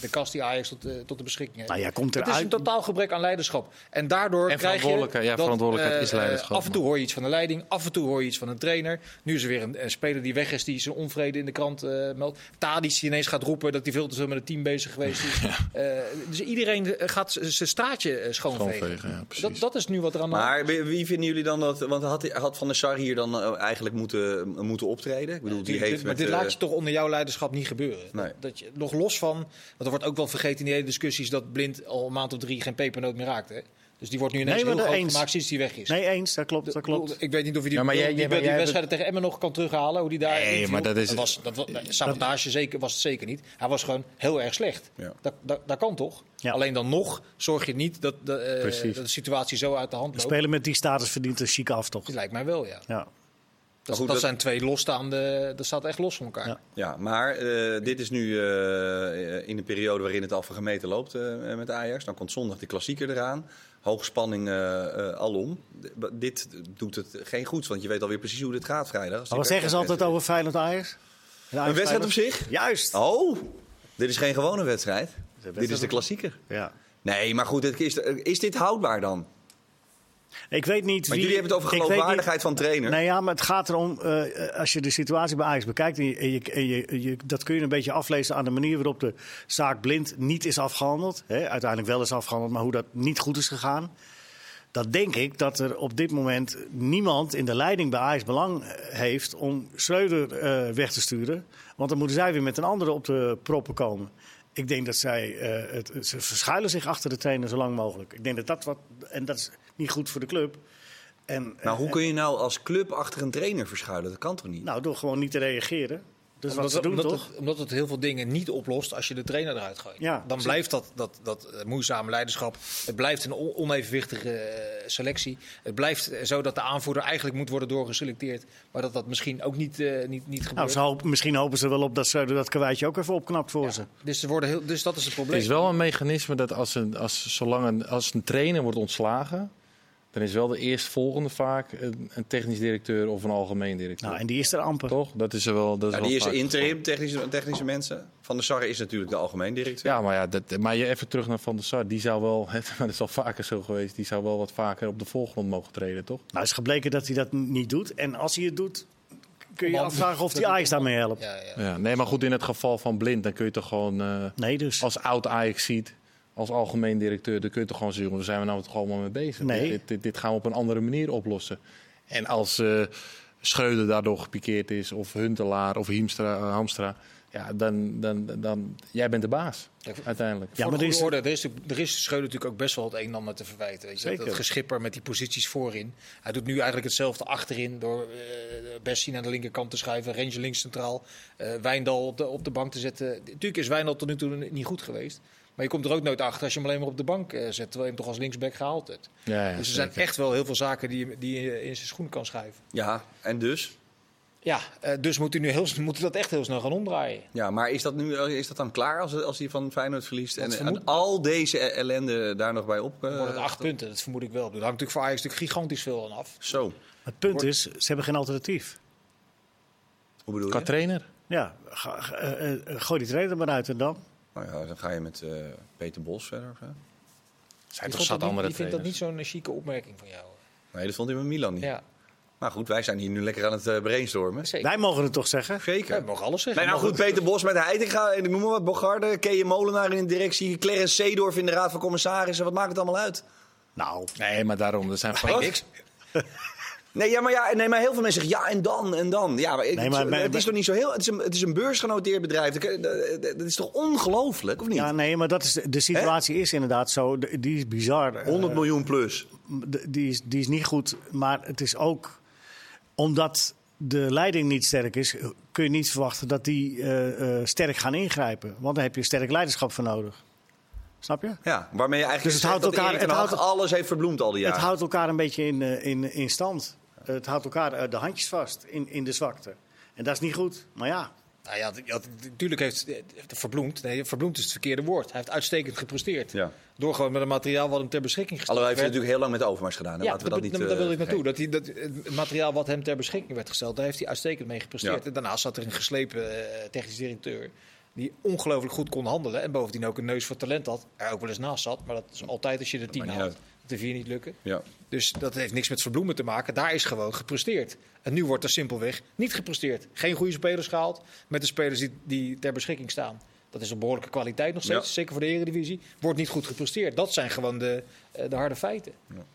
[SPEAKER 2] de kast die Ajax tot, eh, tot de beschikking heeft.
[SPEAKER 3] Nou ja, komt
[SPEAKER 2] Het is een
[SPEAKER 3] eruit.
[SPEAKER 2] totaal gebrek aan leiderschap. En daardoor
[SPEAKER 4] En
[SPEAKER 2] krijg je
[SPEAKER 4] verantwoordelijkheid. Ja, verantwoordelijkheid is
[SPEAKER 2] eh, eh,
[SPEAKER 4] leiderschap,
[SPEAKER 2] Af en toe hoor je iets van de leiding, af en toe hoor je iets van een trainer. Nu is er weer een, een speler die weg is, die zijn onvrede in de krant eh, meldt. Tadic die ineens gaat roepen dat hij veel te veel met het team bezig geweest
[SPEAKER 4] <laughs>
[SPEAKER 2] is. Eh, dus iedereen eh, gaat z- zijn straatje eh, schoonvegen.
[SPEAKER 4] Schoonvegen, ja, precies.
[SPEAKER 2] dat, dat is nu wat er aan de hand
[SPEAKER 1] Maar wie- wie vinden jullie dan dat? Want had, had Van der Sar hier dan eh, eigenlijk moeten, moeten optreden? Ik bedoel, die
[SPEAKER 2] Dit- dit-
[SPEAKER 1] heeft
[SPEAKER 2] maar
[SPEAKER 1] met,
[SPEAKER 2] dit
[SPEAKER 1] eh,
[SPEAKER 2] laat je toch onder jouw leiderschap niet gebeuren.
[SPEAKER 1] Nee.
[SPEAKER 2] Dat, dat je, nog los van, want er wordt ook wel vergeten in die hele discussies dat Blind al een maand of drie geen pepernoot meer raakt. Hè? Dus die wordt nu ineens
[SPEAKER 3] Nee, maar
[SPEAKER 2] heel
[SPEAKER 3] dat
[SPEAKER 2] groot
[SPEAKER 3] eens.
[SPEAKER 2] gemaakt sinds die weg is.
[SPEAKER 3] Nee, eens, dat klopt. Dat klopt.
[SPEAKER 2] Ik weet niet of je die,
[SPEAKER 4] Ja, maar jij-
[SPEAKER 2] die- die,
[SPEAKER 4] jij- maar
[SPEAKER 2] die
[SPEAKER 4] jij
[SPEAKER 2] wedstrijden tegen Emmen nog kan terughalen. Hoe die daar
[SPEAKER 4] Nee,
[SPEAKER 2] inviel.
[SPEAKER 4] maar dat is-
[SPEAKER 2] was, dat, was- sabotage zeker, was het zeker niet. Hij was gewoon heel erg slecht.
[SPEAKER 1] Ja.
[SPEAKER 2] Dat, dat, dat kan toch?
[SPEAKER 3] Ja.
[SPEAKER 2] Alleen dan nog zorg je niet dat de, eh,
[SPEAKER 4] Precies.
[SPEAKER 2] dat de situatie zo uit de hand loopt.
[SPEAKER 3] Spelen met die status verdient een chic aftocht.
[SPEAKER 2] Dat lijkt mij wel, ja.
[SPEAKER 3] Ja.
[SPEAKER 2] Dat,
[SPEAKER 1] goed,
[SPEAKER 2] dat
[SPEAKER 1] dat-
[SPEAKER 2] zijn twee losstaande, dat staat echt los van elkaar.
[SPEAKER 3] Ja.
[SPEAKER 1] Ja, maar eh, dit is nu eh, in de periode waarin het al van gemeten loopt eh, met Ajax. Dan komt zondag de klassieker eraan. Hoogspanning eh, eh, alom. D- b- dit doet het geen goed, want je weet alweer precies hoe dit gaat vrijdag. Als die
[SPEAKER 3] Maar wat zeggen ze altijd over Feyenoord Ajax?
[SPEAKER 1] Een wedstrijd op zich?
[SPEAKER 3] Juist.
[SPEAKER 1] Oh, dit is geen gewone wedstrijd. Dit is de klassieker.
[SPEAKER 3] Ja.
[SPEAKER 1] Nee, maar goed, het is, is dit houdbaar dan?
[SPEAKER 3] Ik weet niet
[SPEAKER 1] Maar
[SPEAKER 3] wie-
[SPEAKER 1] jullie hebben het over
[SPEAKER 3] ik weet
[SPEAKER 1] geloofwaardigheid van trainer.
[SPEAKER 3] Nee, Nou ja, maar het gaat erom, eh, als je de situatie bij Ajax bekijkt, en je, en je, en je- en je- dat kun je een beetje aflezen aan de manier waarop de zaak blind niet is afgehandeld. Hè, uiteindelijk wel is afgehandeld, maar hoe dat niet goed is gegaan. Dat denk ik dat er op dit moment niemand in de leiding bij Ajax belang heeft om Schreuder eh, weg te sturen. Want dan moeten zij weer met een andere op de proppen komen. Ik denk dat zij, eh, het, ze verschuilen zich achter de trainer zo lang mogelijk. Ik denk dat dat wat, en dat is niet goed voor de club. En,
[SPEAKER 1] Nou, hoe kun je nou als club achter een trainer verschuilen? Dat kan toch niet?
[SPEAKER 3] nou, door gewoon niet te reageren. Dus wat
[SPEAKER 2] Omdat,
[SPEAKER 3] ze doen,
[SPEAKER 2] omdat
[SPEAKER 3] toch?
[SPEAKER 2] Het, omdat het heel veel dingen niet oplost als je de trainer eruit gooit.
[SPEAKER 3] Ja,
[SPEAKER 2] dan
[SPEAKER 3] precies.
[SPEAKER 2] blijft dat, dat, dat eh, moeizame leiderschap. Het blijft een on- onevenwichtige eh, selectie. Het blijft eh, zo dat de aanvoerder eigenlijk moet worden doorgeselecteerd. Maar dat dat misschien ook niet, eh, niet, niet
[SPEAKER 3] Nou,
[SPEAKER 2] gebeurt.
[SPEAKER 3] ze hopen, misschien hopen ze wel op dat Schreuder dat karweitje ook even opknapt voor ze.
[SPEAKER 2] dus, er worden heel, dus dat is het
[SPEAKER 4] Het
[SPEAKER 2] probleem.
[SPEAKER 4] is wel een mechanisme dat als een, als, zolang een, als een trainer wordt ontslagen, dan is wel de eerstvolgende vaak een, een technisch directeur of een algemeen directeur.
[SPEAKER 3] Nou, en die is er amper.
[SPEAKER 4] Toch? Dat is er wel. Dat is
[SPEAKER 1] Ja,
[SPEAKER 4] wel
[SPEAKER 1] die is
[SPEAKER 4] vaak-
[SPEAKER 1] interim, technische, technische mensen. Van der Sarre is natuurlijk de algemeen directeur.
[SPEAKER 4] Ja, maar, ja, dat, maar je even terug naar Van der Sar. Die zou wel, <laughs> maar dat is al vaker zo geweest, die zou wel wat vaker op de voorgrond mogen treden, toch?
[SPEAKER 3] Nou, is gebleken dat hij dat n- niet doet. En als hij het doet, kun je je
[SPEAKER 2] Omdat-
[SPEAKER 3] afvragen of die Ajax daarmee helpt.
[SPEAKER 2] Ja, ja.
[SPEAKER 4] Ja, nee, maar goed, in het geval van Blind, dan kun je toch gewoon eh,
[SPEAKER 3] Nee, dus.
[SPEAKER 4] als oud Ajax ziet, als algemeen directeur, dan kun je toch gewoon zeggen, jongens, daar zijn we nou toch allemaal mee bezig.
[SPEAKER 3] Nee.
[SPEAKER 4] Dit, dit, dit gaan we op een andere manier oplossen. En als eh Schreuder daardoor gepikeerd is, of Huntelaar, of Hiemstra, eh, Hamstra, ja, dan, dan, dan, jij bent de baas, uiteindelijk.
[SPEAKER 3] Ja,
[SPEAKER 2] Voor
[SPEAKER 3] maar
[SPEAKER 2] de
[SPEAKER 3] er
[SPEAKER 2] goede
[SPEAKER 3] is,
[SPEAKER 2] orde, er is, natuurlijk- er is Schreuder natuurlijk ook best wel het een en ander te verwijten. Weet je? Dat- Dat
[SPEAKER 3] Zeker.
[SPEAKER 2] geschipper met die posities voorin. Hij doet nu eigenlijk hetzelfde achterin door eh Bessie naar de linkerkant te schuiven, Ranger links centraal, eh, Wijndal op de, op de bank te zetten. Natuurlijk is Wijndal tot nu toe ni- niet goed geweest. Maar je komt er ook nooit achter als je hem alleen maar op de bank eh, zet, terwijl je hem toch als linksback gehaald hebt.
[SPEAKER 4] Ja, ja,
[SPEAKER 2] dus er
[SPEAKER 4] zeker.
[SPEAKER 2] zijn echt wel heel veel zaken die, je- die je in zijn schoen kan schuiven.
[SPEAKER 1] Ja, en dus?
[SPEAKER 2] Ja, eh, dus moet hij, nu heel, s- moet hij dat echt heel snel gaan omdraaien.
[SPEAKER 1] Ja, maar is dat, nu, is dat dan klaar als, als hij van Feyenoord verliest? En,
[SPEAKER 2] vermoed-
[SPEAKER 1] en al deze e- ellende daar nog bij op? eh,
[SPEAKER 2] Dan wordt het acht punten, dat vermoed ik wel. Daar hangt natuurlijk voor Ajax natuurlijk gigantisch veel aan af.
[SPEAKER 1] Zo,
[SPEAKER 3] het punt is, ze hebben geen alternatief.
[SPEAKER 1] hoe bedoel
[SPEAKER 4] Qua
[SPEAKER 1] je?
[SPEAKER 4] trainer?
[SPEAKER 3] Ja, ga- ga- eh, eh, gooi die trainer maar uit en dan.
[SPEAKER 1] Nou ja, dan ga je met eh, Peter Bos verder. of zo.
[SPEAKER 4] Zijn
[SPEAKER 2] Die
[SPEAKER 4] toch
[SPEAKER 2] vond
[SPEAKER 4] zat
[SPEAKER 2] dat niet-
[SPEAKER 4] andere
[SPEAKER 2] die vindt dat
[SPEAKER 4] trainers?
[SPEAKER 2] niet zo'n eh, chique opmerking van jou.
[SPEAKER 1] Nee, dat vond hij bij Milan niet.
[SPEAKER 2] Ja,
[SPEAKER 1] Maar goed, wij zijn hier nu lekker aan het eh, brainstormen.
[SPEAKER 2] zeker.
[SPEAKER 3] Wij mogen het toch zeggen?
[SPEAKER 1] Zeker.
[SPEAKER 2] Ja, we eh, mogen alles zeggen.
[SPEAKER 1] Nee, nou goed, Peter Bos met Heitinga en ik noem maar wat, Bogarde, Keeën Molenaar in de directie, Clarence Seedorf in de Raad van Commissarissen. Wat maakt het allemaal uit?
[SPEAKER 3] Nou,
[SPEAKER 4] Nee, maar daarom, er zijn
[SPEAKER 1] Wat?
[SPEAKER 4] vaak niks.
[SPEAKER 1] Nee, ja, maar, ja, nee, maar heel veel mensen zeggen ja en dan en dan. Ja, maar, ik-
[SPEAKER 3] Nee, maar- maar-
[SPEAKER 1] het is toch niet zo heel... Het is een, het is een beursgenoteerd bedrijf. Dat, kan- dat- dat is toch ongelooflijk, of niet?
[SPEAKER 3] ja, nee, maar dat is, de situatie is inderdaad zo. De- Die is bizar. Eh,
[SPEAKER 1] 100 miljoen plus.
[SPEAKER 3] de- die, is, die is niet goed. Maar het is ook omdat de leiding niet sterk is, kun je niet verwachten dat die eh, eh, sterk gaan ingrijpen. Want daar heb je sterk leiderschap voor nodig. Snap je?
[SPEAKER 1] Ja, waarmee je eigenlijk
[SPEAKER 3] Dus het
[SPEAKER 1] zegt
[SPEAKER 3] houdt
[SPEAKER 1] dat
[SPEAKER 3] elkaar-
[SPEAKER 1] Erik ten
[SPEAKER 3] het
[SPEAKER 1] Hag
[SPEAKER 3] houdt-
[SPEAKER 1] alles heeft verbloemd al die jaren.
[SPEAKER 3] Het houdt elkaar een beetje in, eh, in, in stand. Het houdt elkaar eh, de handjes vast in, in de zwakte. En dat is niet goed. Maar ja,
[SPEAKER 2] Nou ja, d- ja, d- natuurlijk heeft eh, Verbloemd, nee, Verbloemd is het verkeerde woord. Hij heeft uitstekend gepresteerd.
[SPEAKER 1] Ja.
[SPEAKER 2] Door gewoon met het materiaal wat hem ter beschikking gesteld
[SPEAKER 1] Alhoewel heeft hij
[SPEAKER 2] werd.
[SPEAKER 1] natuurlijk heel lang met overmars gedaan. hè.
[SPEAKER 2] Ja, nou,
[SPEAKER 1] Laten we dat niet...
[SPEAKER 2] daar
[SPEAKER 1] eh,
[SPEAKER 2] wil ik naartoe.
[SPEAKER 1] vergeten.
[SPEAKER 2] Dat hij, dat, eh, het materiaal wat hem ter beschikking werd gesteld, daar heeft hij uitstekend mee gepresteerd.
[SPEAKER 1] Ja.
[SPEAKER 2] En daarnaast zat er een geslepen eh, technisch directeur die ongelooflijk goed kon handelen. En bovendien ook een neus voor talent had. Er ook wel eens naast zat, maar dat is altijd als je de tien
[SPEAKER 1] maakt niet
[SPEAKER 2] haalt.
[SPEAKER 1] uit.
[SPEAKER 2] Dat de vier niet lukken.
[SPEAKER 1] Ja.
[SPEAKER 2] Dus dat heeft niks met verbloemen te maken. Daar is gewoon gepresteerd. En nu wordt er simpelweg niet gepresteerd. Geen goede spelers gehaald met de spelers die, die ter beschikking staan. Dat is een behoorlijke kwaliteit nog steeds,
[SPEAKER 1] Ja.
[SPEAKER 2] zeker voor de Eredivisie. Wordt niet goed gepresteerd. Dat zijn gewoon de, eh, de harde feiten.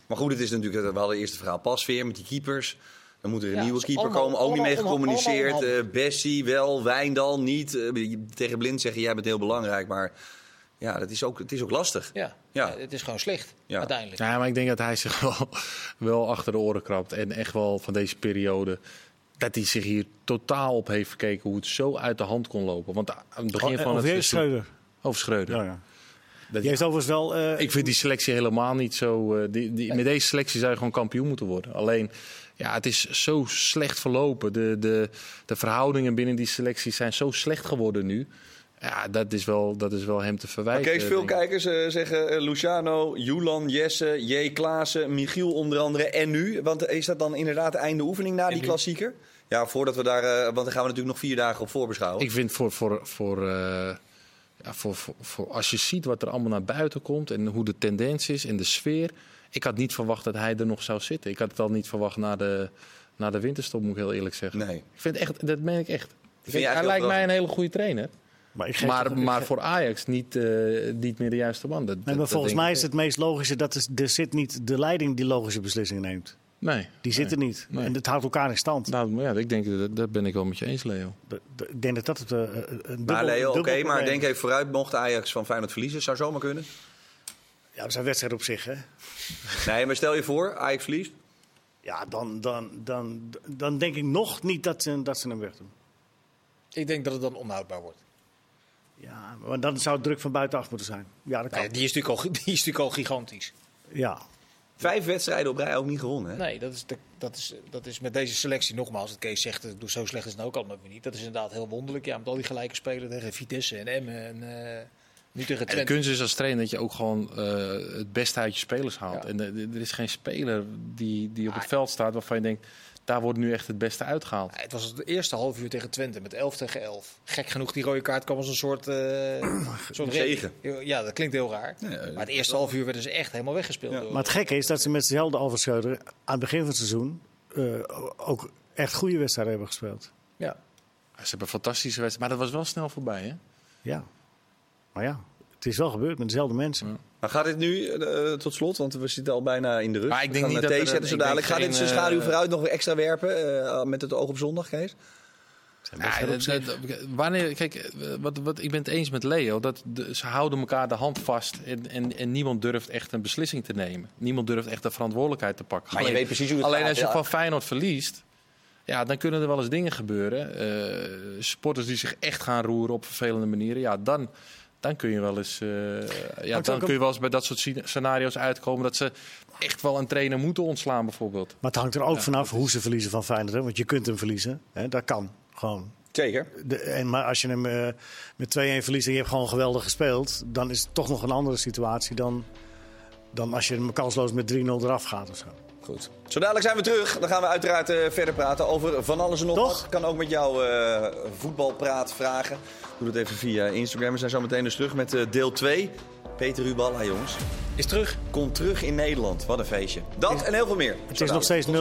[SPEAKER 1] Maar goed, het is natuurlijk... We hadden eerst het verhaal Pasveer met die keepers. Dan moet er een
[SPEAKER 2] Ja,
[SPEAKER 1] nieuwe
[SPEAKER 2] het is
[SPEAKER 1] keeper
[SPEAKER 2] allemaal-
[SPEAKER 1] komen. Ook niet mee
[SPEAKER 2] allemaal onhandig,
[SPEAKER 1] gecommuniceerd.
[SPEAKER 2] allemaal
[SPEAKER 1] Eh, Bessie wel, Wijndal niet. Eh, tegen Blind zeggen, jij bent heel belangrijk. Maar ja, dat is ook, het is ook lastig.
[SPEAKER 2] Ja.
[SPEAKER 1] Ja.
[SPEAKER 2] Eh, het is gewoon slecht,
[SPEAKER 1] Ja.
[SPEAKER 2] uiteindelijk.
[SPEAKER 4] Ja, maar ik denk dat hij zich <laughs> wel, wel achter de oren krabt. En echt wel van deze periode. Dat hij zich hier totaal op heeft gekeken hoe het zo uit de hand kon lopen. Want aan het begin van het
[SPEAKER 3] Oh, Of
[SPEAKER 4] seizoen-
[SPEAKER 3] eh, Schreuder.
[SPEAKER 4] Over Schreuder.
[SPEAKER 3] Ja, ja.
[SPEAKER 4] Dat-
[SPEAKER 3] Die heeft overigens wel... eh,
[SPEAKER 4] ik vind die selectie helemaal niet zo. eh, die, die, met deze selectie zou je gewoon kampioen moeten worden. Alleen, ja, het is zo slecht verlopen. De, de, de verhoudingen binnen die selectie zijn zo slecht geworden nu. Ja, dat is wel, dat is wel hem te
[SPEAKER 1] Maar
[SPEAKER 4] verwijten.
[SPEAKER 1] Kees, veel
[SPEAKER 4] denk ik.
[SPEAKER 1] kijkers eh, zeggen eh, Luciano, Julan, Jesse, J. Klaassen, Michiel onder andere en nu. Want eh, is dat dan inderdaad einde oefening na die klassieker? Ja, voordat we daar... eh, want daar gaan we natuurlijk nog vier dagen op voorbeschouwen.
[SPEAKER 4] Ik vind voor, voor, voor, eh, ja, voor, voor, voor als je ziet wat er allemaal naar buiten komt en hoe de tendens is en de sfeer. ik had niet verwacht dat hij er nog zou zitten. Ik had het al niet verwacht na de, na de winterstop, moet ik heel eerlijk zeggen.
[SPEAKER 1] Nee.
[SPEAKER 4] Ik vind echt, dat meen ik echt. Ik
[SPEAKER 1] je
[SPEAKER 4] vind,
[SPEAKER 1] eigenlijk
[SPEAKER 4] hij
[SPEAKER 1] heel
[SPEAKER 4] lijkt mij
[SPEAKER 1] verrassend?
[SPEAKER 4] een hele goede trainer.
[SPEAKER 3] Maar, ik geef
[SPEAKER 4] Maar,
[SPEAKER 3] toch-
[SPEAKER 4] maar voor Ajax niet, eh, niet meer de juiste man.
[SPEAKER 3] Nee,
[SPEAKER 4] Dat, dat-
[SPEAKER 3] maar
[SPEAKER 4] dat
[SPEAKER 3] volgens
[SPEAKER 4] denk
[SPEAKER 3] mij
[SPEAKER 4] ik
[SPEAKER 3] is het meest logische dat is, er zit niet de leiding die logische beslissingen neemt.
[SPEAKER 4] niet. Nee.
[SPEAKER 3] Die zit er niet.
[SPEAKER 4] Nee.
[SPEAKER 3] En dat houdt elkaar in stand.
[SPEAKER 4] Nou, maar ja, ik denk, dat, dat ben ik wel met je eens, Leo.
[SPEAKER 3] De- de- Ik denk dat dat het eh, een dubbel,
[SPEAKER 1] Maar Leo, oké,
[SPEAKER 3] dubbel
[SPEAKER 1] maar
[SPEAKER 3] probleem
[SPEAKER 1] denk
[SPEAKER 3] is.
[SPEAKER 1] even vooruit. Mocht Ajax van Feyenoord verliezen, zou zomaar kunnen.
[SPEAKER 3] Ja, dat is een wedstrijd op zich, hè?
[SPEAKER 1] Nee, maar stel je voor, Ajax verliest.
[SPEAKER 3] Ja, dan, dan, dan, dan denk ik nog niet dat ze, dat ze hem weg doen.
[SPEAKER 2] Ik denk dat het dan onhoudbaar wordt.
[SPEAKER 3] Ja, maar dan zou het druk van buitenaf moeten zijn. Ja, dat kan.
[SPEAKER 2] Nou ja, die, is natuurlijk al, <laughs> die is natuurlijk al gigantisch.
[SPEAKER 3] Ja.
[SPEAKER 1] Vijf wedstrijden op rij ook niet gewonnen, hè?
[SPEAKER 2] Nee, dat is, de- dat, is, dat is met deze selectie nogmaals. Dat Kees zegt, ik doe zo slecht is het nou ook allemaal weer niet. Dat is inderdaad heel wonderlijk. Ja, met al die gelijke spelers tegen Vitesse en Emmen en eh, nu tegen
[SPEAKER 4] En de
[SPEAKER 2] Twente.
[SPEAKER 4] kunst is als trainer dat je ook gewoon eh, het beste uit je spelers haalt.
[SPEAKER 2] Ja.
[SPEAKER 4] En eh, er is geen speler die, die op het veld staat waarvan je denkt, daar wordt nu echt het beste uitgehaald.
[SPEAKER 2] Ja, Ah, Het was het eerste half uur tegen Twente met 11 tegen 11. Gek genoeg, die rode kaart kwam als een soort, eh soort
[SPEAKER 1] Zegen.
[SPEAKER 2] reden. Ja, dat klinkt heel raar.
[SPEAKER 1] Nee,
[SPEAKER 2] maar het eerste half uur werden ze echt helemaal weggespeeld. door-
[SPEAKER 3] Maar het gekke is dat ze met dezelfde Alves Schreuder aan het begin van het seizoen eh, ook echt goede wedstrijden hebben gespeeld.
[SPEAKER 2] ja.
[SPEAKER 4] Ze hebben een fantastische wedstrijd, maar dat was wel snel voorbij. Hè?
[SPEAKER 3] Ja. Maar ja, het is wel gebeurd met dezelfde mensen.
[SPEAKER 1] Maar gaat dit nu, eh, eh, tot slot, want we zitten al bijna in de rust.
[SPEAKER 4] Maar ik denk
[SPEAKER 1] we gaan
[SPEAKER 4] niet
[SPEAKER 1] naar
[SPEAKER 4] dat
[SPEAKER 1] thee
[SPEAKER 4] er-
[SPEAKER 1] zetten zo
[SPEAKER 4] ik denk
[SPEAKER 1] dadelijk. Gaat dit zijn
[SPEAKER 4] geen,
[SPEAKER 1] schaduw
[SPEAKER 4] eh,
[SPEAKER 1] vooruit nog weer extra werpen eh, met het oog op zondag, Kees?
[SPEAKER 4] Ja, dat- dat- wanneer, kijk, eh, wat, wat, ik ben het eens met Leo, dat de- ze houden elkaar de hand vast en, en, en niemand durft echt een beslissing te nemen. Niemand durft echt de verantwoordelijkheid te pakken. Alleen-
[SPEAKER 1] precies hoe
[SPEAKER 4] Alleen als je
[SPEAKER 1] ja.
[SPEAKER 4] van Feyenoord verliest, ja, dan kunnen er wel eens dingen gebeuren. Eh, sporters die zich echt gaan roeren op vervelende manieren, ja, dan, dan kun je wel eens, eh, ja,
[SPEAKER 3] ook
[SPEAKER 4] dan
[SPEAKER 3] een-
[SPEAKER 4] kun je wel eens bij dat soort scena- scenario's uitkomen dat ze echt wel een trainer moeten ontslaan, bijvoorbeeld.
[SPEAKER 3] Maar het hangt er ook vanaf hoe ze verliezen van Feyenoord. Hè? Want je kunt hem verliezen. Hè? Dat kan gewoon.
[SPEAKER 1] Zeker.
[SPEAKER 3] De, en, maar als je hem eh, met 2-1 verliest en je hebt gewoon geweldig gespeeld... dan is het toch nog een andere situatie dan, dan als je hem kansloos met 3-0 eraf gaat of zo.
[SPEAKER 1] Goed. Zo dadelijk zijn we terug. Dan gaan we uiteraard eh, verder praten over van alles en nog
[SPEAKER 3] Toch?
[SPEAKER 1] wat. Kan ook met jou eh, voetbalpraat vragen. Doe dat even via Instagram. We zijn zo meteen dus terug met eh, deel 2. Peter Ruballa, jongens.
[SPEAKER 2] Is terug.
[SPEAKER 1] Komt terug in Nederland. Wat een feestje. Dat en heel veel meer.
[SPEAKER 3] Het is nog steeds 0-1.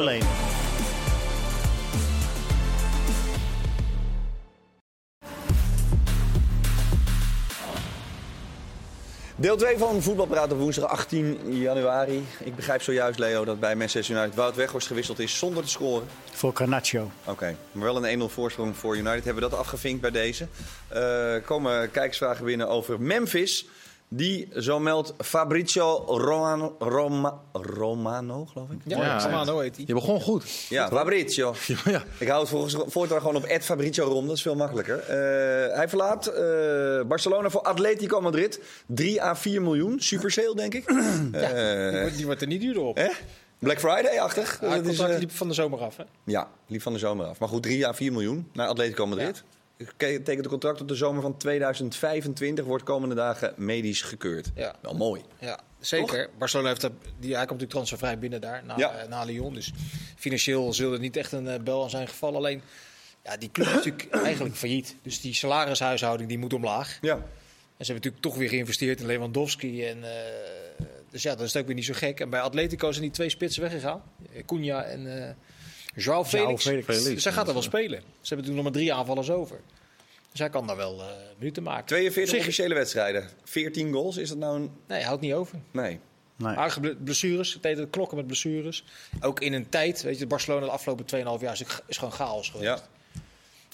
[SPEAKER 1] Deel 2 van Voetbalpraat op woensdag 18 januari. Ik begrijp zojuist, Leo, dat bij Manchester United Wout Weghorst gewisseld is zonder te scoren.
[SPEAKER 3] Voor Carnaccio.
[SPEAKER 1] Oké, maar wel een 1-0 voorsprong voor United. Hebben we dat afgevinkt bij deze. Eh komen kijkersvragen binnen over Memphis. Die, zo meldt Fabrizio Romano, Roma- Romano geloof ik.
[SPEAKER 2] Ja,
[SPEAKER 4] Ja,
[SPEAKER 2] Romano heet hij.
[SPEAKER 4] Je begon goed. <laughs>
[SPEAKER 1] Ja, Fabrizio.
[SPEAKER 4] ja.
[SPEAKER 1] Ik hou het volgens voortaan gewoon op Ed Fabrizio Rom, dat is veel makkelijker. Eh, hij verlaat eh, Barcelona voor Atletico Madrid. 3 à 4 miljoen, super sale denk ik.
[SPEAKER 2] Die
[SPEAKER 1] Eh,
[SPEAKER 2] wordt, die wordt er niet duurder op.
[SPEAKER 1] hè? Black Friday-achtig.
[SPEAKER 2] Ja,
[SPEAKER 1] Dat is,
[SPEAKER 2] contract
[SPEAKER 1] eh,
[SPEAKER 2] liep van de zomer af. Hè?
[SPEAKER 1] ja, liep van de zomer af. Maar goed, 3 à 4 miljoen naar Atletico Madrid. Ik ke- Tekent een contract op de zomer van 2025. Wordt komende dagen medisch gekeurd.
[SPEAKER 2] Ja.
[SPEAKER 1] Wel mooi.
[SPEAKER 2] Ja, zeker. Barcelona heeft dat, die, hij komt natuurlijk transfervrij binnen daar, na,
[SPEAKER 1] Ja.
[SPEAKER 2] eh, na Lyon. Dus financieel zullen er niet echt een eh, bel aan zijn gevallen. Alleen, ja, die club is natuurlijk eigenlijk failliet. Dus die salarishuishouding die moet omlaag.
[SPEAKER 1] Ja.
[SPEAKER 2] En ze hebben natuurlijk toch weer geïnvesteerd in Lewandowski. En, eh, dus ja, dat is ook weer niet zo gek. En bij Atletico zijn die twee spitsen weggegaan. Eh, Cunha en eh Joao Felix.
[SPEAKER 3] Felix.
[SPEAKER 2] Dus hij gaat er wel spelen. Ze hebben natuurlijk nog maar drie aanvallers over. Dus hij kan daar wel eh, minuten maken.
[SPEAKER 1] 42
[SPEAKER 2] Op zich-
[SPEAKER 1] officiële wedstrijden. 14 goals, is dat nou een...
[SPEAKER 2] Nee, hij houdt niet over.
[SPEAKER 1] Nee.
[SPEAKER 3] Nee.
[SPEAKER 2] Aardige ble- blessures, het deed klokken met blessures. Ook in een tijd, weet je, Barcelona de afgelopen 2,5 jaar is, is gewoon chaos geweest.
[SPEAKER 1] Ja.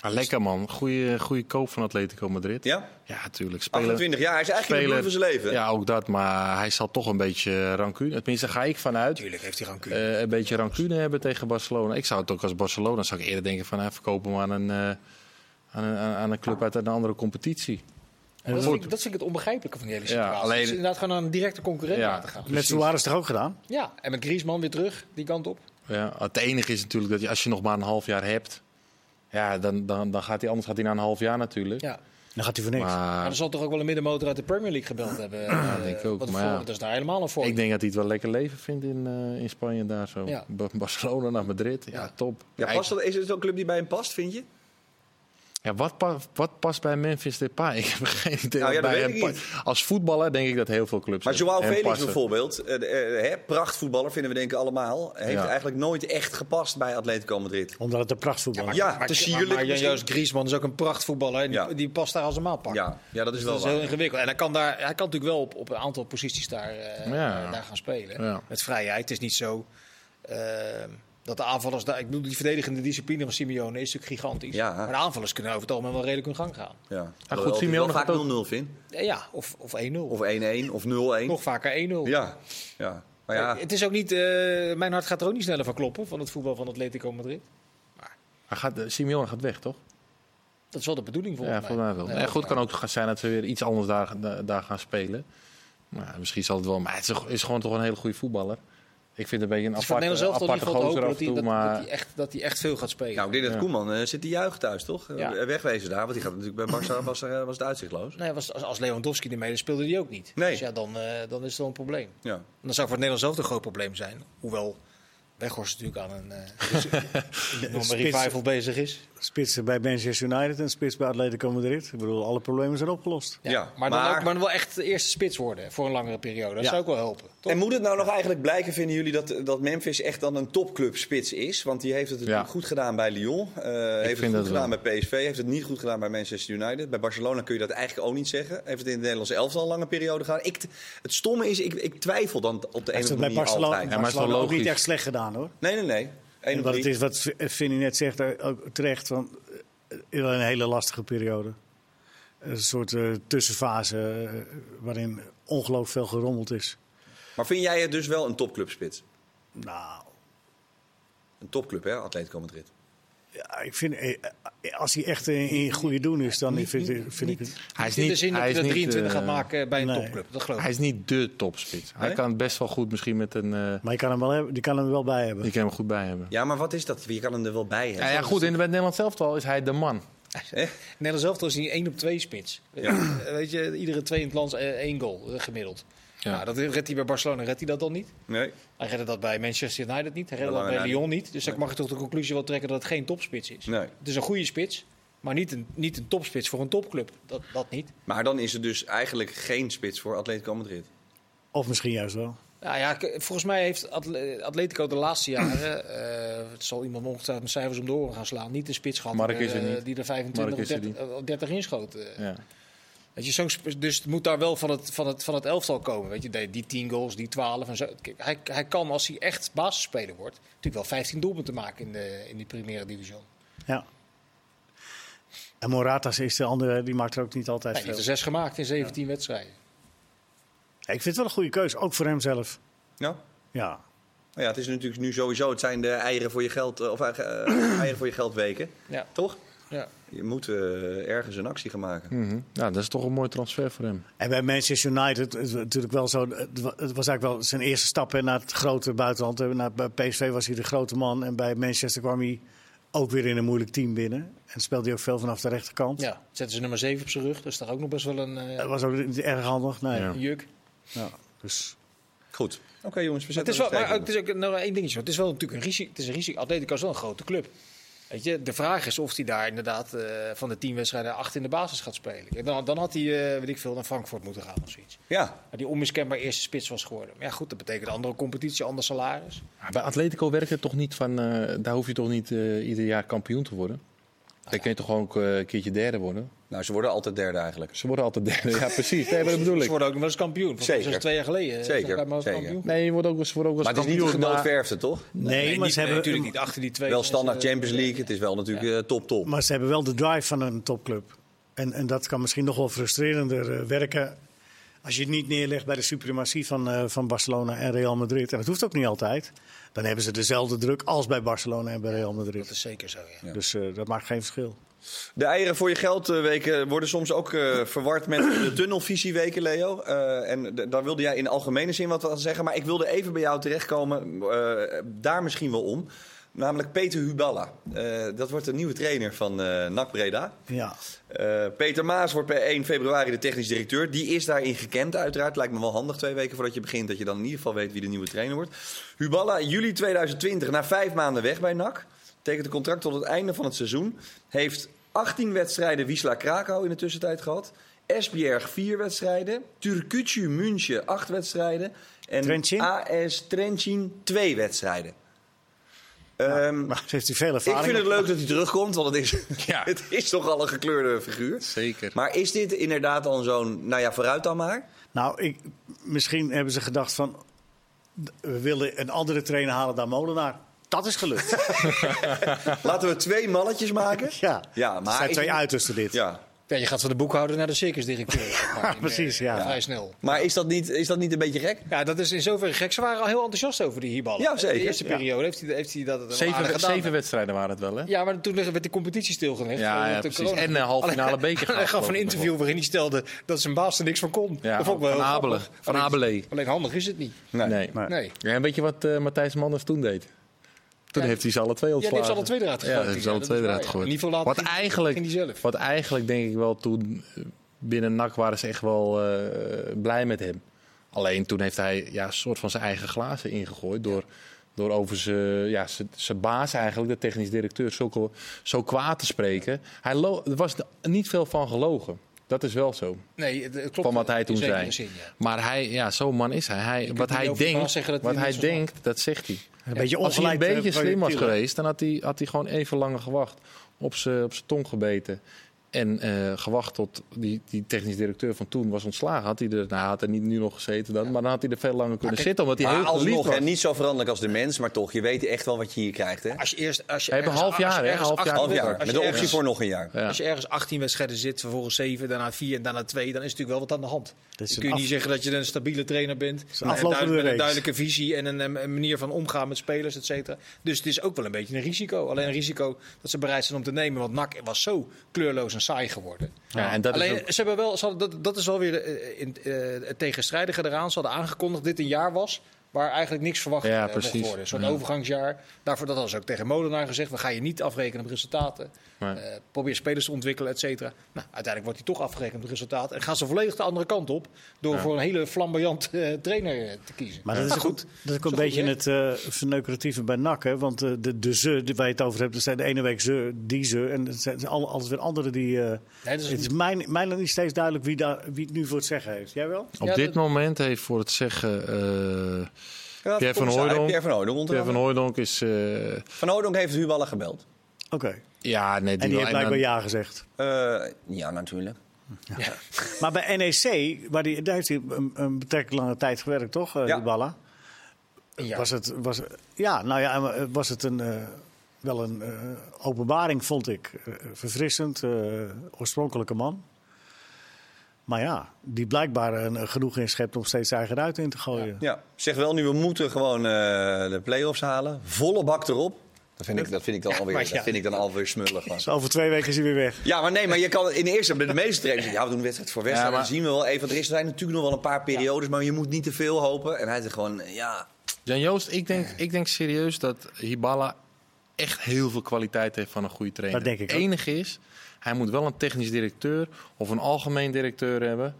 [SPEAKER 4] Ah, lekker man, goede, goede koop van Atletico Madrid.
[SPEAKER 1] ja?
[SPEAKER 4] Ja, tuurlijk. Spelen,
[SPEAKER 1] 28 jaar, hij is eigenlijk in de bloei van zijn leven.
[SPEAKER 4] Ja, ook dat, maar hij zal toch een beetje rancune. Tenminste, daar ga ik vanuit.
[SPEAKER 2] Natuurlijk heeft hij gewoon kunnen.
[SPEAKER 4] eh, een beetje rancune hebben tegen Barcelona. Ik zou het ook als Barcelona zou ik eerder denken van hij verkopen hem aan een, eh, aan een, aan aan een club uit een andere competitie.
[SPEAKER 2] Maar dat, vind ik, dat vind ik het onbegrijpelijke van die hele
[SPEAKER 4] Ja,
[SPEAKER 2] situatie.
[SPEAKER 4] alleen-
[SPEAKER 2] Dus inderdaad gewoon aan een directe concurrent
[SPEAKER 4] Ja.
[SPEAKER 2] laten gaan.
[SPEAKER 3] Met Suarez toch ook gedaan?
[SPEAKER 2] Ja, en met Griezmann weer terug, die kant op.
[SPEAKER 4] Ja, het enige is natuurlijk dat je, als je nog maar een half jaar hebt, ja, dan, dan, dan gaat hij anders gaat hij na een half jaar natuurlijk.
[SPEAKER 2] Ja.
[SPEAKER 3] Dan gaat hij voor niks.
[SPEAKER 4] Maar
[SPEAKER 2] Maar er zal toch ook wel een middenmotor uit de Premier League gebeld hebben. eh,
[SPEAKER 4] denk ik ook,
[SPEAKER 2] want
[SPEAKER 4] maar
[SPEAKER 2] voor-
[SPEAKER 4] ja.
[SPEAKER 2] Dat is daar helemaal een voor.
[SPEAKER 4] ik denk dat hij het wel lekker leven vindt in, eh, in Spanje daar zo.
[SPEAKER 2] Ja.
[SPEAKER 4] Ba- <laughs> Barcelona naar Madrid, ja,
[SPEAKER 2] Ja.
[SPEAKER 4] top.
[SPEAKER 1] Ja,
[SPEAKER 4] Hij-
[SPEAKER 1] past dat, is het zo'n club die bij hem past, vind je?
[SPEAKER 4] Ja, wat, pa- wat past bij Memphis Depay? <laughs> Ik heb geen idee.
[SPEAKER 1] Nou ja,
[SPEAKER 4] wat
[SPEAKER 1] dat
[SPEAKER 4] bij
[SPEAKER 1] weet
[SPEAKER 4] hem
[SPEAKER 1] ik
[SPEAKER 4] past. Als voetballer denk ik dat heel veel clubs
[SPEAKER 1] Maar
[SPEAKER 4] hem-
[SPEAKER 1] Joao
[SPEAKER 4] hem
[SPEAKER 1] Felix
[SPEAKER 4] passen.
[SPEAKER 1] bijvoorbeeld, eh, eh, hè, prachtvoetballer vinden we denk ik allemaal, heeft
[SPEAKER 4] Ja.
[SPEAKER 1] eigenlijk nooit echt gepast bij Atletico Madrid.
[SPEAKER 3] Omdat het een prachtvoetbal is.
[SPEAKER 1] Ja, te
[SPEAKER 2] maar,
[SPEAKER 1] sierlijk
[SPEAKER 2] maar Jan-
[SPEAKER 1] misschien.
[SPEAKER 2] Joost Griezmann is ook een prachtvoetballer. En die,
[SPEAKER 1] Ja.
[SPEAKER 2] die past daar als een maalpak.
[SPEAKER 1] Ja, ja, dat is wel
[SPEAKER 2] Dat is
[SPEAKER 1] waar.
[SPEAKER 2] heel ingewikkeld. En hij kan, daar, hij kan natuurlijk wel op, op een aantal posities daar, eh,
[SPEAKER 4] Ja.
[SPEAKER 2] daar gaan spelen.
[SPEAKER 4] Ja.
[SPEAKER 2] Met vrijheid. Het is niet zo eh, dat de aanvallers daar... Ik bedoel, die verdedigende discipline van Simeone is natuurlijk gigantisch.
[SPEAKER 1] Ja.
[SPEAKER 2] Maar de aanvallers kunnen over het algemeen wel redelijk hun gang gaan.
[SPEAKER 1] Ja.
[SPEAKER 4] goed,
[SPEAKER 1] Hoewel ik
[SPEAKER 4] Simeone
[SPEAKER 1] wel vaak
[SPEAKER 4] gaat ook-
[SPEAKER 1] 0-0 vind.
[SPEAKER 2] Eh, Ja, of, of 1-0.
[SPEAKER 1] Of 1-1 of 0-1.
[SPEAKER 2] Nog vaker 1-0.
[SPEAKER 1] Ja, ja. Maar ja,
[SPEAKER 2] Oh, Eh, Het is ook niet... eh, mijn hart gaat er ook niet sneller van kloppen van het voetbal van Atletico Madrid.
[SPEAKER 4] Hij gaat, eh, Simeone gaat weg, toch?
[SPEAKER 2] Dat is wel de bedoedning volgens
[SPEAKER 4] Ja,
[SPEAKER 2] mij.
[SPEAKER 4] volgens mij wel.
[SPEAKER 2] Nee,
[SPEAKER 4] Ja, goed,
[SPEAKER 2] volgens
[SPEAKER 4] het kan
[SPEAKER 2] mij.
[SPEAKER 4] ook gaan zijn dat ze weer iets anders daar, da- daar gaan spelen. Maar misschien zal het wel. Maar het is, is gewoon toch een hele goede voetballer. Ik vind het een beetje een
[SPEAKER 2] Het is voor
[SPEAKER 4] aparte,
[SPEAKER 2] Nederland Dus zelf toch niet
[SPEAKER 4] aparte
[SPEAKER 2] veel te hopen
[SPEAKER 4] gozer af en
[SPEAKER 2] dat hij- dat-
[SPEAKER 4] toe. maar...
[SPEAKER 2] dat hij echt- dat hij echt veel gaat spelen.
[SPEAKER 1] nou, ik denk dat Koeman eh, zit te juichen thuis, toch?
[SPEAKER 2] Ja.
[SPEAKER 1] Eh, Wegwezen daar, want die gaat natuurlijk bij Barça was, er, eh, was het uitzichtloos.
[SPEAKER 2] Nee, was, als, als Lewandowski ermee deed, speelde hij ook niet.
[SPEAKER 1] Nee.
[SPEAKER 2] Dus ja, dan, eh, dan is het wel een probleem.
[SPEAKER 1] Ja.
[SPEAKER 2] En dan zou het voor Nederland zelf een groot probleem zijn. Hoewel Weghorst natuurlijk aan een eh, dus- enorme
[SPEAKER 3] spits.
[SPEAKER 2] revival bezig is.
[SPEAKER 3] Spitsen bij Manchester United en spits bij Atletico Madrid. Ik bedoel, alle problemen zijn opgelost.
[SPEAKER 1] Ja,
[SPEAKER 2] maar, dan
[SPEAKER 1] maar-
[SPEAKER 2] ook, maar dan wel echt de eerste spits worden voor een langere periode. Dat
[SPEAKER 3] Ja.
[SPEAKER 2] zou ook wel helpen. Toch?
[SPEAKER 1] En moet het nou nog eigenlijk blijken, vinden jullie, dat, dat Memphis echt dan een topclubspits is? Want die heeft het natuurlijk
[SPEAKER 4] Ja.
[SPEAKER 1] goed gedaan bij Lyon. eh, heeft het
[SPEAKER 4] vind
[SPEAKER 1] goed
[SPEAKER 4] dat
[SPEAKER 1] gedaan bij PSV. Heeft het niet goed gedaan bij Manchester United. Bij Barcelona kun je dat eigenlijk ook niet zeggen. Heeft het in de Nederlandse elftal een lange periode gedaan. Ik, t- het stomme is, ik, ik twijfel dan op de een
[SPEAKER 3] Hij
[SPEAKER 1] of
[SPEAKER 3] heeft het
[SPEAKER 1] andere
[SPEAKER 3] bij
[SPEAKER 1] manier
[SPEAKER 3] Barcelona,
[SPEAKER 1] altijd.
[SPEAKER 4] Ja, maar het is wel
[SPEAKER 3] Barcelona ook niet
[SPEAKER 4] logisch.
[SPEAKER 3] echt slecht gedaan hoor.
[SPEAKER 1] Nee, nee, nee. Eén op
[SPEAKER 3] Omdat het
[SPEAKER 1] drie.
[SPEAKER 3] is wat V- Vinnie net zegt, eh, ook terecht, van eh, een hele lastige periode. Een soort eh, tussenfase eh, waarin ongelooflijk veel gerommeld is.
[SPEAKER 1] Maar vind jij het dus wel een topclubspits?
[SPEAKER 3] Nou,
[SPEAKER 1] Een topclub, hè, Atletico Madrid?
[SPEAKER 3] ja, ik vind, eh, eh, als hij echt in, in goede doen is, dan vind, vind ik het...
[SPEAKER 4] Hij is
[SPEAKER 2] in de
[SPEAKER 4] niet-
[SPEAKER 2] zin dat hij
[SPEAKER 4] hij is
[SPEAKER 2] dat
[SPEAKER 4] niet,
[SPEAKER 2] 23 gaat
[SPEAKER 4] eh,
[SPEAKER 2] maken bij een
[SPEAKER 3] nee.
[SPEAKER 2] topclub. Dat geloof ik.
[SPEAKER 4] Hij is niet de topspits. Hij
[SPEAKER 1] Nee?
[SPEAKER 4] kan het best wel goed misschien met een... eh
[SPEAKER 3] Maar je kan hem wel, hebben, die kan hem wel bij hebben.
[SPEAKER 4] die kan hem goed bij hebben.
[SPEAKER 1] Ja, maar wat is dat? Je kan hem er wel bij
[SPEAKER 4] Ja,
[SPEAKER 1] hebben.
[SPEAKER 4] ja, goed, in bij het Nederlands elftal is hij de man.
[SPEAKER 2] Nederland zelf is niet 1 op 2 spits. Eh, Weet je, iedere twee in het land eh, één goal eh, gemiddeld.
[SPEAKER 4] Ja.
[SPEAKER 2] Nou, dat redt hij bij Barcelona, redt hij dat dan niet?
[SPEAKER 1] Nee.
[SPEAKER 2] Hij redde dat bij Manchester United niet. Hij redde dat
[SPEAKER 1] Lange
[SPEAKER 2] bij
[SPEAKER 1] na-
[SPEAKER 2] Lyon niet. Dus dan mag je toch de conclusie wel trekken dat het geen topspits is.
[SPEAKER 1] Nee.
[SPEAKER 2] Het is een goede spits, maar niet een, niet een topspits voor een topclub. Dat, dat niet.
[SPEAKER 1] Maar dan is er dus eigenlijk geen spits voor Atletico Madrid.
[SPEAKER 3] Of misschien juist wel.
[SPEAKER 2] Nou ja, k- volgens mij heeft Atle- Atletico de laatste jaren, <coughs> eh, het zal iemand ongetwijfeld met cijfers om de oren gaan slaan, niet een spits gehad
[SPEAKER 4] Mark
[SPEAKER 2] die
[SPEAKER 4] is
[SPEAKER 2] er,
[SPEAKER 4] er
[SPEAKER 2] eh,
[SPEAKER 4] niet.
[SPEAKER 2] die er 25
[SPEAKER 4] Mark
[SPEAKER 2] of
[SPEAKER 4] is er
[SPEAKER 2] 30, eh, 30 inschoot. eh.
[SPEAKER 4] Ja.
[SPEAKER 2] Weet je, zo'n sp- dus het moet daar wel van het, van het, van het elftal komen. Weet je, die, die 10 goals, die 12 en zo. Kijk, Hij, hij kan, als hij echt basisspeler wordt, natuurlijk wel 15 doelpunten maken in de, in die primaire division.
[SPEAKER 3] Ja. En Morata is de andere, die maakt er ook niet altijd
[SPEAKER 2] Hij
[SPEAKER 3] veel.
[SPEAKER 2] heeft er zes gemaakt in 17 wedstrijden.
[SPEAKER 3] Ja, ik vind het wel een goede keuze, ook voor hemzelf.
[SPEAKER 1] Ja.
[SPEAKER 3] Ja.
[SPEAKER 1] Nou ja, het is natuurlijk nu sowieso. Het zijn de eieren voor je geld eh, of eh,
[SPEAKER 2] <clears throat>
[SPEAKER 1] eh, eieren voor je geld weken,
[SPEAKER 2] Ja.
[SPEAKER 1] toch?
[SPEAKER 2] Ja.
[SPEAKER 1] Je moet eh, ergens een actie gaan maken.
[SPEAKER 4] Mhm. ja, dat is toch een mooi transfer voor hem.
[SPEAKER 3] En bij Manchester United, het was natuurlijk wel zo, het wa- het was eigenlijk wel zijn eerste stap hè, naar het grote buitenland. Hè. Naar- Bij PSV was hij de grote man en bij Manchester kwam hij ook weer in een moeilijk team binnen. En speelde hij ook veel vanaf de rechterkant.
[SPEAKER 2] ja, zetten ze nummer 7 op zijn rug. Dat is daar ook nog best wel een eh,
[SPEAKER 3] Dat was ook niet erg handig. Nee.
[SPEAKER 4] Ja.
[SPEAKER 3] Ja.
[SPEAKER 2] juk.
[SPEAKER 3] Dus
[SPEAKER 1] Goed. Oké jongens, we
[SPEAKER 2] Het is
[SPEAKER 1] zetten
[SPEAKER 2] wel,
[SPEAKER 1] er een
[SPEAKER 2] maar
[SPEAKER 1] streep
[SPEAKER 2] ook- het is ook nog één dingetje. want Het is wel natuurlijk een risico. Het is een risico. Atletico is wel een grote club. Weet je, de vraag is of hij daar inderdaad eh, van de tien wedstrijden acht in de basis gaat spelen. Ja, Dan, dan had hij, eh, weet ik veel, naar Frankfurt moeten gaan of zoiets.
[SPEAKER 1] onder. Ja.
[SPEAKER 2] Maar die onmiskenbaar eerste spits was geworden. Maar ja, goed, dat betekent andere competitie, ander salaris.
[SPEAKER 4] Maar Bij Atletico werkt het toch niet van... eh, daar hoef je toch niet eh, ieder jaar kampioen te worden? Dan kun je toch gewoon ook eh, een keertje derde worden?
[SPEAKER 1] Nou, ze worden altijd derde eigenlijk.
[SPEAKER 4] Ze worden altijd derde. Ja, precies. Nee, maar dat bedoel
[SPEAKER 2] Ze
[SPEAKER 4] ik.
[SPEAKER 2] worden ook nog wel eens kampioen. Volgens mij
[SPEAKER 1] Zeker.
[SPEAKER 2] was het twee jaar geleden. eh,
[SPEAKER 1] Zeker,
[SPEAKER 2] zijn wij maar als
[SPEAKER 1] zeker.
[SPEAKER 2] kampioen.
[SPEAKER 4] Nee, je wordt ook, ze worden ook wel
[SPEAKER 1] Maar
[SPEAKER 4] eens
[SPEAKER 1] het is niet
[SPEAKER 4] kampioen, maar-
[SPEAKER 1] gedoodverfde, toch?
[SPEAKER 3] nee, maar
[SPEAKER 2] niet-
[SPEAKER 3] ze hebben,
[SPEAKER 2] natuurlijk niet achter die twee.
[SPEAKER 1] Wel standaard
[SPEAKER 2] eh,
[SPEAKER 1] Champions League. Het is wel natuurlijk eh, top top.
[SPEAKER 3] Maar ze hebben wel de drive van een topclub. En, en dat kan misschien nog wel frustrerender eh, werken. Als je het niet neerlegt bij de suprematie van, eh, van Barcelona en Real Madrid. En dat hoeft ook niet altijd. Dan hebben ze dezelfde druk als bij Barcelona en bij Real
[SPEAKER 2] Dat
[SPEAKER 3] Madrid.
[SPEAKER 2] is zeker zo, ja.
[SPEAKER 3] Dus eh, dat maakt geen verschil.
[SPEAKER 1] De eieren voor je geld eh, weken worden soms ook eh, verward met de tunnelvisie weken, Leo. Eh, en d- daar wilde jij in algemene zin wat aan zeggen. Maar ik wilde even bij jou terechtkomen, eh, daar misschien wel om. Namelijk Peter Huballa. Eh, dat wordt de nieuwe trainer van eh NAC Breda.
[SPEAKER 3] Ja.
[SPEAKER 1] Eh, Peter Maas wordt per 1 februari de technisch directeur. Die is daarin gekend uiteraard. Lijkt me wel handig twee weken voordat je begint. Dat je dan in ieder geval weet wie de nieuwe trainer wordt. Huballa, juli 2020, na vijf maanden weg bij NAC. Tekent een contract tot het einde van het seizoen. Heeft 18 wedstrijden Wisla Krakau in de tussentijd gehad. Esbjerg 4 wedstrijden. Turkutju München 8 wedstrijden. En
[SPEAKER 3] Trentin?
[SPEAKER 1] AS Trentin 2 wedstrijden. Ehm,
[SPEAKER 3] Maar heeft hij veel
[SPEAKER 1] ik
[SPEAKER 3] ervaring.
[SPEAKER 1] vind het leuk dat hij terugkomt, want het is,
[SPEAKER 4] Ja.
[SPEAKER 1] het is toch al een gekleurde figuur.
[SPEAKER 4] Zeker.
[SPEAKER 1] Maar is dit inderdaad dan zo'n, nou ja, vooruit dan maar?
[SPEAKER 3] Nou, ik, misschien hebben ze gedacht van... d- We willen een andere trainer halen dan Molenaar. Dat is gelukt.
[SPEAKER 1] Laten we twee malletjes maken.
[SPEAKER 3] ja.
[SPEAKER 1] Ja,
[SPEAKER 3] het
[SPEAKER 1] maar
[SPEAKER 3] zijn
[SPEAKER 1] ik-
[SPEAKER 3] twee uitersten dit.
[SPEAKER 1] Ja.
[SPEAKER 2] Ja, je gaat van de boekhouder naar de
[SPEAKER 3] <laughs>
[SPEAKER 2] circusdirecteur. zeg maar, in,
[SPEAKER 3] precies,
[SPEAKER 2] eh,
[SPEAKER 3] ja.
[SPEAKER 2] Vrij snel.
[SPEAKER 1] Maar is dat, niet, is dat niet een beetje gek?
[SPEAKER 2] Ja, dat is in zoverre gek. Ze waren al heel enthousiast over die hierballen.
[SPEAKER 1] Ja, zeker.
[SPEAKER 2] De eerste
[SPEAKER 1] Ja.
[SPEAKER 2] periode heeft hij, heeft hij dat wel aardig
[SPEAKER 4] Zeven,
[SPEAKER 2] gedaan.
[SPEAKER 4] zeven wedstrijden waren het wel, hè?
[SPEAKER 2] Ja, maar toen werd de competitie stilgelegd.
[SPEAKER 4] Ja,
[SPEAKER 2] vanwege
[SPEAKER 4] ja,
[SPEAKER 2] de
[SPEAKER 4] precies.
[SPEAKER 2] corona.
[SPEAKER 4] En een halve <laughs> finale
[SPEAKER 2] Alleen- <laughs>
[SPEAKER 4] beker
[SPEAKER 2] Hij
[SPEAKER 4] gehad,
[SPEAKER 2] gaf een
[SPEAKER 4] geloof ik nog
[SPEAKER 2] interview waarin hij stelde dat zijn baas er niks van kon.
[SPEAKER 4] Ja,
[SPEAKER 2] dat vond ik wel
[SPEAKER 4] van
[SPEAKER 2] heel
[SPEAKER 4] Abelen.
[SPEAKER 2] grappig.
[SPEAKER 4] Van
[SPEAKER 2] Alleen-
[SPEAKER 4] Abele.
[SPEAKER 2] Alleen handig is het niet.
[SPEAKER 4] Nee.
[SPEAKER 3] Nee.
[SPEAKER 2] Nee.
[SPEAKER 4] Ja, en weet je wat eh, Matthijs Manders toen deed? Toen
[SPEAKER 2] Ja.
[SPEAKER 4] heeft hij ze alle twee
[SPEAKER 2] Ja, die
[SPEAKER 4] ontslagen.
[SPEAKER 2] heeft ze alle twee eruit gegooid.
[SPEAKER 4] Ja, die heeft ze alle
[SPEAKER 2] Ja,
[SPEAKER 4] twee
[SPEAKER 2] dat is
[SPEAKER 4] eruit
[SPEAKER 2] waar, ja.
[SPEAKER 4] gegooid.
[SPEAKER 2] Niet veel later
[SPEAKER 4] wat,
[SPEAKER 2] ging-
[SPEAKER 4] eigenlijk,
[SPEAKER 2] ging hij zelf.
[SPEAKER 4] wat eigenlijk denk ik wel toen eh, binnen NAC waren ze echt wel eh, blij met hem. Alleen toen heeft hij ja, een soort van zijn eigen glazen ingegooid door... Door over zijn ja, zijn- zijn baas eigenlijk, de technisch directeur, zo, zo kwaad te spreken. Hij lo- er was niet veel van gelogen. Dat is wel zo.
[SPEAKER 2] Nee, het- het klopt.
[SPEAKER 4] Van wat hij
[SPEAKER 2] in
[SPEAKER 4] toen
[SPEAKER 2] zekere
[SPEAKER 4] zei.
[SPEAKER 2] zin, ja.
[SPEAKER 4] Maar hij, ja, zo'n man is hij. hij wat
[SPEAKER 2] niet
[SPEAKER 4] hij
[SPEAKER 2] over baas
[SPEAKER 4] denkt,
[SPEAKER 2] zeggen dat
[SPEAKER 4] wat
[SPEAKER 2] hij
[SPEAKER 4] hij
[SPEAKER 2] net zo
[SPEAKER 4] denkt dat zegt hij.
[SPEAKER 3] Een beetje
[SPEAKER 4] Als hij een
[SPEAKER 3] ongelijk, eh,
[SPEAKER 4] beetje slim was
[SPEAKER 3] projectielen.
[SPEAKER 4] geweest, dan had hij, had hij gewoon even langer gewacht. Op zijn op z'n tong gebeten. En eh, gewacht tot die, die technisch directeur van toen was ontslagen. Had hij er, nou, hij had er niet nu nog gezeten dan, maar dan had hij er veel langer kunnen
[SPEAKER 2] kijk,
[SPEAKER 4] zitten. Omdat hij
[SPEAKER 1] Maar
[SPEAKER 4] heel geliefd
[SPEAKER 1] alsnog,
[SPEAKER 4] was.
[SPEAKER 1] hè, niet zo veranderlijk als de mens, maar toch, je weet echt wel wat je hier krijgt. Hè?
[SPEAKER 2] Als je eerst, als je
[SPEAKER 4] We hebben
[SPEAKER 2] ergens-
[SPEAKER 4] half jaar,
[SPEAKER 2] als je
[SPEAKER 4] hè?
[SPEAKER 2] ergens
[SPEAKER 4] Half jaar
[SPEAKER 2] 18
[SPEAKER 1] Half jaar,
[SPEAKER 2] als
[SPEAKER 1] met
[SPEAKER 2] je
[SPEAKER 1] de optie
[SPEAKER 2] ergens-
[SPEAKER 1] voor nog een jaar.
[SPEAKER 4] Ja.
[SPEAKER 2] Als je ergens 18 wedstrijden zit, vervolgens 7, daarna 4 en daarna 2, dan is natuurlijk wel wat aan de hand.
[SPEAKER 3] is
[SPEAKER 2] Dan
[SPEAKER 3] een
[SPEAKER 2] kun je
[SPEAKER 3] af-
[SPEAKER 2] niet zeggen dat je een stabiele trainer bent.
[SPEAKER 3] een
[SPEAKER 2] Met
[SPEAKER 3] aflopende
[SPEAKER 2] duid- met een
[SPEAKER 3] reeks.
[SPEAKER 2] duidelijke visie en een, eh, een manier van omgaan met spelers, et cetera. Dus het is ook wel een beetje een risico. Alleen een risico dat ze bereid zijn om te nemen. Want NAC was zo kleurloos en saai geworden.
[SPEAKER 4] Ja, en dat is
[SPEAKER 2] Alleen,
[SPEAKER 4] ook-
[SPEAKER 2] ze hebben wel, ze hadden- dat, dat is wel weer eh, in, eh, het tegenstrijdige eraan. Ze hadden aangekondigd dat dit een jaar was waar eigenlijk niks verwacht
[SPEAKER 4] Ja,
[SPEAKER 2] eh, mocht
[SPEAKER 4] precies.
[SPEAKER 2] worden. Een soort
[SPEAKER 4] Ja.
[SPEAKER 2] overgangsjaar. Daarvoor dat hadden ze ook tegen Molenaar gezegd. We gaan je niet afrekenen op resultaten.
[SPEAKER 4] Nee.
[SPEAKER 2] Eh, probeer spelers te ontwikkelen, et cetera. Nou, uiteindelijk wordt hij toch afgerekend op resultaten. En gaan ze volledig de andere kant op door voor een hele flamboyant eh, trainer eh, te kiezen.
[SPEAKER 3] Maar dat is,
[SPEAKER 2] Maar
[SPEAKER 3] ook-
[SPEAKER 2] goed,
[SPEAKER 3] dat is ook
[SPEAKER 2] zo
[SPEAKER 3] een
[SPEAKER 2] goed
[SPEAKER 3] beetje het eh verneukeratieve bij NAC. Hè? Want eh, de, de ze die- waar je het over hebt, dat zijn de ene week ze, die ze. En het zijn al- altijd weer anderen die... eh,
[SPEAKER 2] Nee, dat is-
[SPEAKER 3] het is mij, mij nog niet steeds duidelijk wie, daar, wie het nu voor het zeggen heeft. Jij wel?
[SPEAKER 4] Op
[SPEAKER 2] Ja,
[SPEAKER 4] dit
[SPEAKER 2] dat-
[SPEAKER 4] moment heeft voor het zeggen... eh
[SPEAKER 1] Ja,
[SPEAKER 4] Pierre
[SPEAKER 1] kom
[SPEAKER 4] van
[SPEAKER 1] eens uit,
[SPEAKER 4] Hooijdonk.
[SPEAKER 1] Pierre van Hooydonk onder
[SPEAKER 4] Pierre van
[SPEAKER 1] andere.
[SPEAKER 4] Hooijdonk is... eh,
[SPEAKER 1] Van Hooydonk heeft Huballen gebeld.
[SPEAKER 3] Oké.
[SPEAKER 4] ja, nee,
[SPEAKER 3] En die
[SPEAKER 4] wil-
[SPEAKER 3] heeft
[SPEAKER 4] dan-
[SPEAKER 3] blijkbaar ja gezegd.
[SPEAKER 1] Eh, ja, natuurlijk.
[SPEAKER 3] Maar bij NEC, waar die, daar heeft hij een, een betrekkelijk lange tijd gewerkt, toch, eh
[SPEAKER 1] Ja.
[SPEAKER 3] Dybala?
[SPEAKER 2] Een jaar.
[SPEAKER 3] Was het, was, ja, nou ja, maar, eh, was het een, eh, wel een eh, openbaring, vond ik. Eh, verfrissend, eh, oorspronkelijke man. Maar ja, die blijkbaar een, een genoeg inschept om steeds eigen ruit in te gooien.
[SPEAKER 1] Ja. Zeg wel nu, we moeten gewoon eh, de play-offs halen. Volle bak erop. Dat vind ik, dat vind ik dan alweer,
[SPEAKER 2] maar
[SPEAKER 1] dat
[SPEAKER 2] ja.
[SPEAKER 1] vind ik dan alweer smullig. man.
[SPEAKER 3] Dus over twee weken is hij weer weg.
[SPEAKER 1] Ja, maar nee, maar je kan in de eerste bij de meeste trainers zeggen, ja, we doen wedstrijd voor wedstrijd.
[SPEAKER 4] Ja,
[SPEAKER 1] Dan
[SPEAKER 4] maar-
[SPEAKER 1] zien we wel even. Want er zijn natuurlijk nog wel een paar periodes, maar je moet niet te veel hopen. En hij zegt gewoon, ja,
[SPEAKER 4] Jan Joost, ik denk, ik denk serieus dat Hibala echt heel veel kwaliteit heeft van een goede trainer.
[SPEAKER 3] Dat denk ik
[SPEAKER 4] Het
[SPEAKER 3] ook.
[SPEAKER 4] enige is, hij moet wel een technisch directeur of een algemeen directeur hebben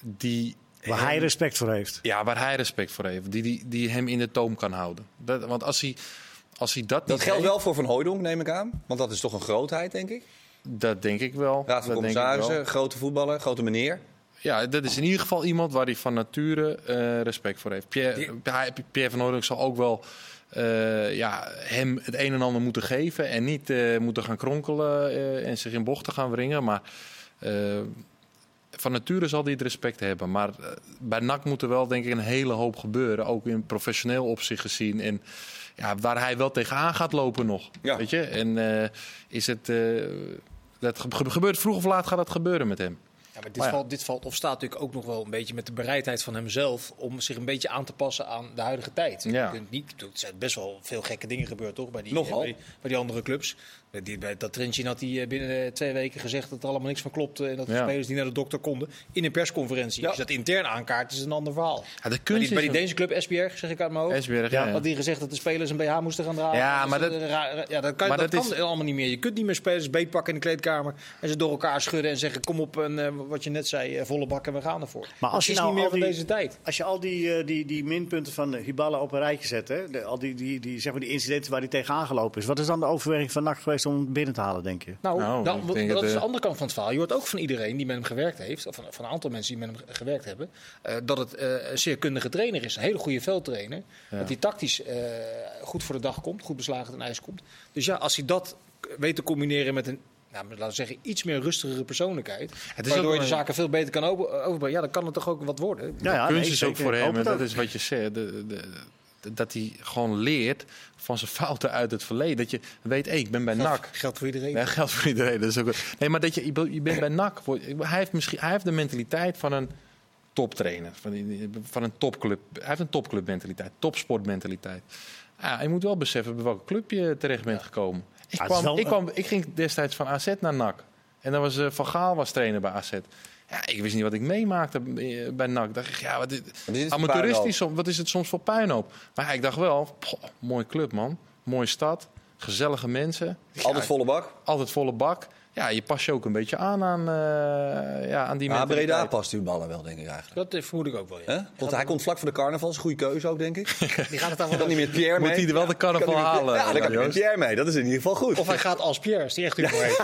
[SPEAKER 4] die.
[SPEAKER 3] Waar hij respect voor heeft.
[SPEAKER 4] Ja, waar hij respect voor heeft. Die, die, die hem in de toom kan houden. Dat, want als hij, als hij dat,
[SPEAKER 1] dat
[SPEAKER 4] niet
[SPEAKER 1] geldt
[SPEAKER 4] heeft,
[SPEAKER 1] wel voor Van Hooydonk, neem ik aan. Want dat is toch een grootheid, denk ik.
[SPEAKER 4] Dat denk ik wel.
[SPEAKER 1] Raad van
[SPEAKER 4] dat denk ik wel.
[SPEAKER 1] Commissarissen, grote voetballer, grote meneer.
[SPEAKER 4] Ja, dat is in ieder geval iemand waar hij van nature eh, respect voor heeft. Pierre, hij- Pierre van Hooydonk zal ook wel eh, ja, hem het een en ander moeten geven. En niet eh, moeten gaan kronkelen eh, en zich in bochten gaan wringen. Maar eh, van nature zal hij het respect hebben. Maar eh, bij NAC moet er wel denk ik een hele hoop gebeuren. Ook in professioneel opzicht gezien. En ja, waar hij wel tegenaan gaat lopen nog.
[SPEAKER 1] Ja.
[SPEAKER 4] Weet je? En eh, is het... eh, dat ge- gebeurt vroeg of laat gaat dat gebeuren met hem.
[SPEAKER 2] Ja, maar dit,
[SPEAKER 4] Maar ja.
[SPEAKER 2] Valt, dit valt of staat natuurlijk ook nog wel een beetje met de bereidheid van hemzelf om zich een beetje aan te passen aan de huidige tijd.
[SPEAKER 4] Ja.
[SPEAKER 2] Je kunt niet, er zijn best wel veel gekke dingen gebeurd toch bij die,
[SPEAKER 1] Nogal.
[SPEAKER 2] Bij, die- bij die andere clubs. Bij die, bij dat Trentin had hij eh, binnen eh, twee weken gezegd dat er allemaal niks van klopte en dat de
[SPEAKER 4] Ja.
[SPEAKER 2] spelers niet naar de dokter konden in een persconferentie.
[SPEAKER 1] Ja.
[SPEAKER 2] Dus dat intern aankaart is een ander verhaal.
[SPEAKER 4] Ja, de
[SPEAKER 2] Bij
[SPEAKER 4] kunst
[SPEAKER 2] die, bij die
[SPEAKER 4] is...
[SPEAKER 2] Deense club SBR, zeg ik uit mijn hoofd.
[SPEAKER 4] Esbjerg,
[SPEAKER 3] Ja,
[SPEAKER 4] ja, ja.
[SPEAKER 2] Had die gezegd dat de spelers een BH moesten gaan dragen?
[SPEAKER 4] Ja,
[SPEAKER 2] is
[SPEAKER 4] maar dat-
[SPEAKER 2] een raar- raar- ja, dat kan,
[SPEAKER 4] maar
[SPEAKER 2] dat
[SPEAKER 4] dat
[SPEAKER 2] kan
[SPEAKER 4] is-
[SPEAKER 2] allemaal niet meer. Je kunt niet meer spelers beetpakken in de kleedkamer en ze door elkaar schudden en zeggen: kom op en eh, wat je net zei, eh, volle bak en we gaan ervoor.
[SPEAKER 3] Maar als
[SPEAKER 2] Dat
[SPEAKER 3] je
[SPEAKER 2] is
[SPEAKER 3] nou
[SPEAKER 2] niet meer
[SPEAKER 3] al
[SPEAKER 2] van
[SPEAKER 3] die-
[SPEAKER 2] deze tijd.
[SPEAKER 3] Als je al die, eh, die, die minpunten van eh, Hibala op een rijtje zet, hè? De, al die, die, die, zeg maar die incidenten waar hij tegenaan gelopen is, wat is dan de overweging van NAC geweest geweest om hem binnen te halen, denk je?
[SPEAKER 2] Nou,
[SPEAKER 4] Nou,
[SPEAKER 2] dan-
[SPEAKER 4] ik
[SPEAKER 2] dat,
[SPEAKER 4] denk dat,
[SPEAKER 2] is de
[SPEAKER 4] eh,
[SPEAKER 2] andere kant van het verhaal. Je hoort ook van iedereen die met hem gewerkt heeft, of van, van een aantal mensen die met hem gewerkt hebben, eh, dat het eh, een zeer kundige trainer is. Een hele goede veldtrainer. Dat hij tactisch eh, goed voor de dag komt, goed beslagen ten ijs komt. Dus ja, als hij dat k- weet te combineren met een. Nou, maar laten we zeggen, iets meer rustigere persoonlijkheid.
[SPEAKER 4] ook
[SPEAKER 2] waardoor je de
[SPEAKER 4] een-
[SPEAKER 2] zaken veel beter kan over- overbrengen. Ja, dan kan het toch ook wat worden.
[SPEAKER 3] Ja,
[SPEAKER 4] de
[SPEAKER 3] ja,
[SPEAKER 4] kunst
[SPEAKER 3] nee,
[SPEAKER 4] is ook
[SPEAKER 3] zeker.
[SPEAKER 4] voor
[SPEAKER 3] Ik
[SPEAKER 4] hem,
[SPEAKER 3] hoop
[SPEAKER 4] en
[SPEAKER 3] het
[SPEAKER 4] dat
[SPEAKER 3] ook.
[SPEAKER 4] is wat je zegt, de- de- de- dat hij gewoon leert van zijn fouten uit het verleden. Dat je weet, hé, ik ben bij NAC.
[SPEAKER 2] Geldt voor iedereen.
[SPEAKER 4] Nee, geldt voor iedereen. Dat is ook... Nee, maar dat je, je bent- je bent bij NAC. voor- Hij heeft, misschien, hij heeft de mentaliteit van een toptrainer. Van, die- van een topclub. Hij heeft een topclubmentaliteit. Topsportmentaliteit. Ja, je moet wel beseffen bij welke club je terecht bent gekomen.
[SPEAKER 3] Ah, het
[SPEAKER 4] Ik,
[SPEAKER 3] is
[SPEAKER 4] kwam,
[SPEAKER 3] wel-
[SPEAKER 4] ik, kwam, ik ging destijds van AZ naar NAC. En dan was eh, Van Gaal was trainer bij AZ. Ja, ik wist niet wat ik meemaakte eh, bij NAC. Dacht ik, ja, wat, dit,
[SPEAKER 1] Wat is dit voor
[SPEAKER 4] amateuristisch, som- wat is het soms voor puinhoop? Maar ik dacht wel, poh, mooie club man, mooie stad, gezellige mensen.
[SPEAKER 1] Altijd volle bak.
[SPEAKER 4] Altijd volle bak. Ja, je pas je ook een beetje aan aan, eh, ja, aan die
[SPEAKER 1] Maar
[SPEAKER 4] mentaliteit.
[SPEAKER 1] Ah, Breda past die ballen wel, denk ik eigenlijk.
[SPEAKER 2] Dat eh, vermoed ik ook wel. Ja.
[SPEAKER 1] Hè? Want hij komt vlak voor de carnaval. is een goede keuze ook, denk ik.
[SPEAKER 2] Die gaat
[SPEAKER 1] <laughs>
[SPEAKER 2] het daar wel
[SPEAKER 1] Kan niet met Pierre mee.
[SPEAKER 4] Moet hij er wel de carnaval
[SPEAKER 1] Kan hij met-
[SPEAKER 4] halen? eh,
[SPEAKER 1] Ja, dan kan hij met
[SPEAKER 4] Joost?
[SPEAKER 1] Pierre mee. Dat is in ieder geval goed.
[SPEAKER 2] Of hij gaat als Pierre, is die echt humor heeft.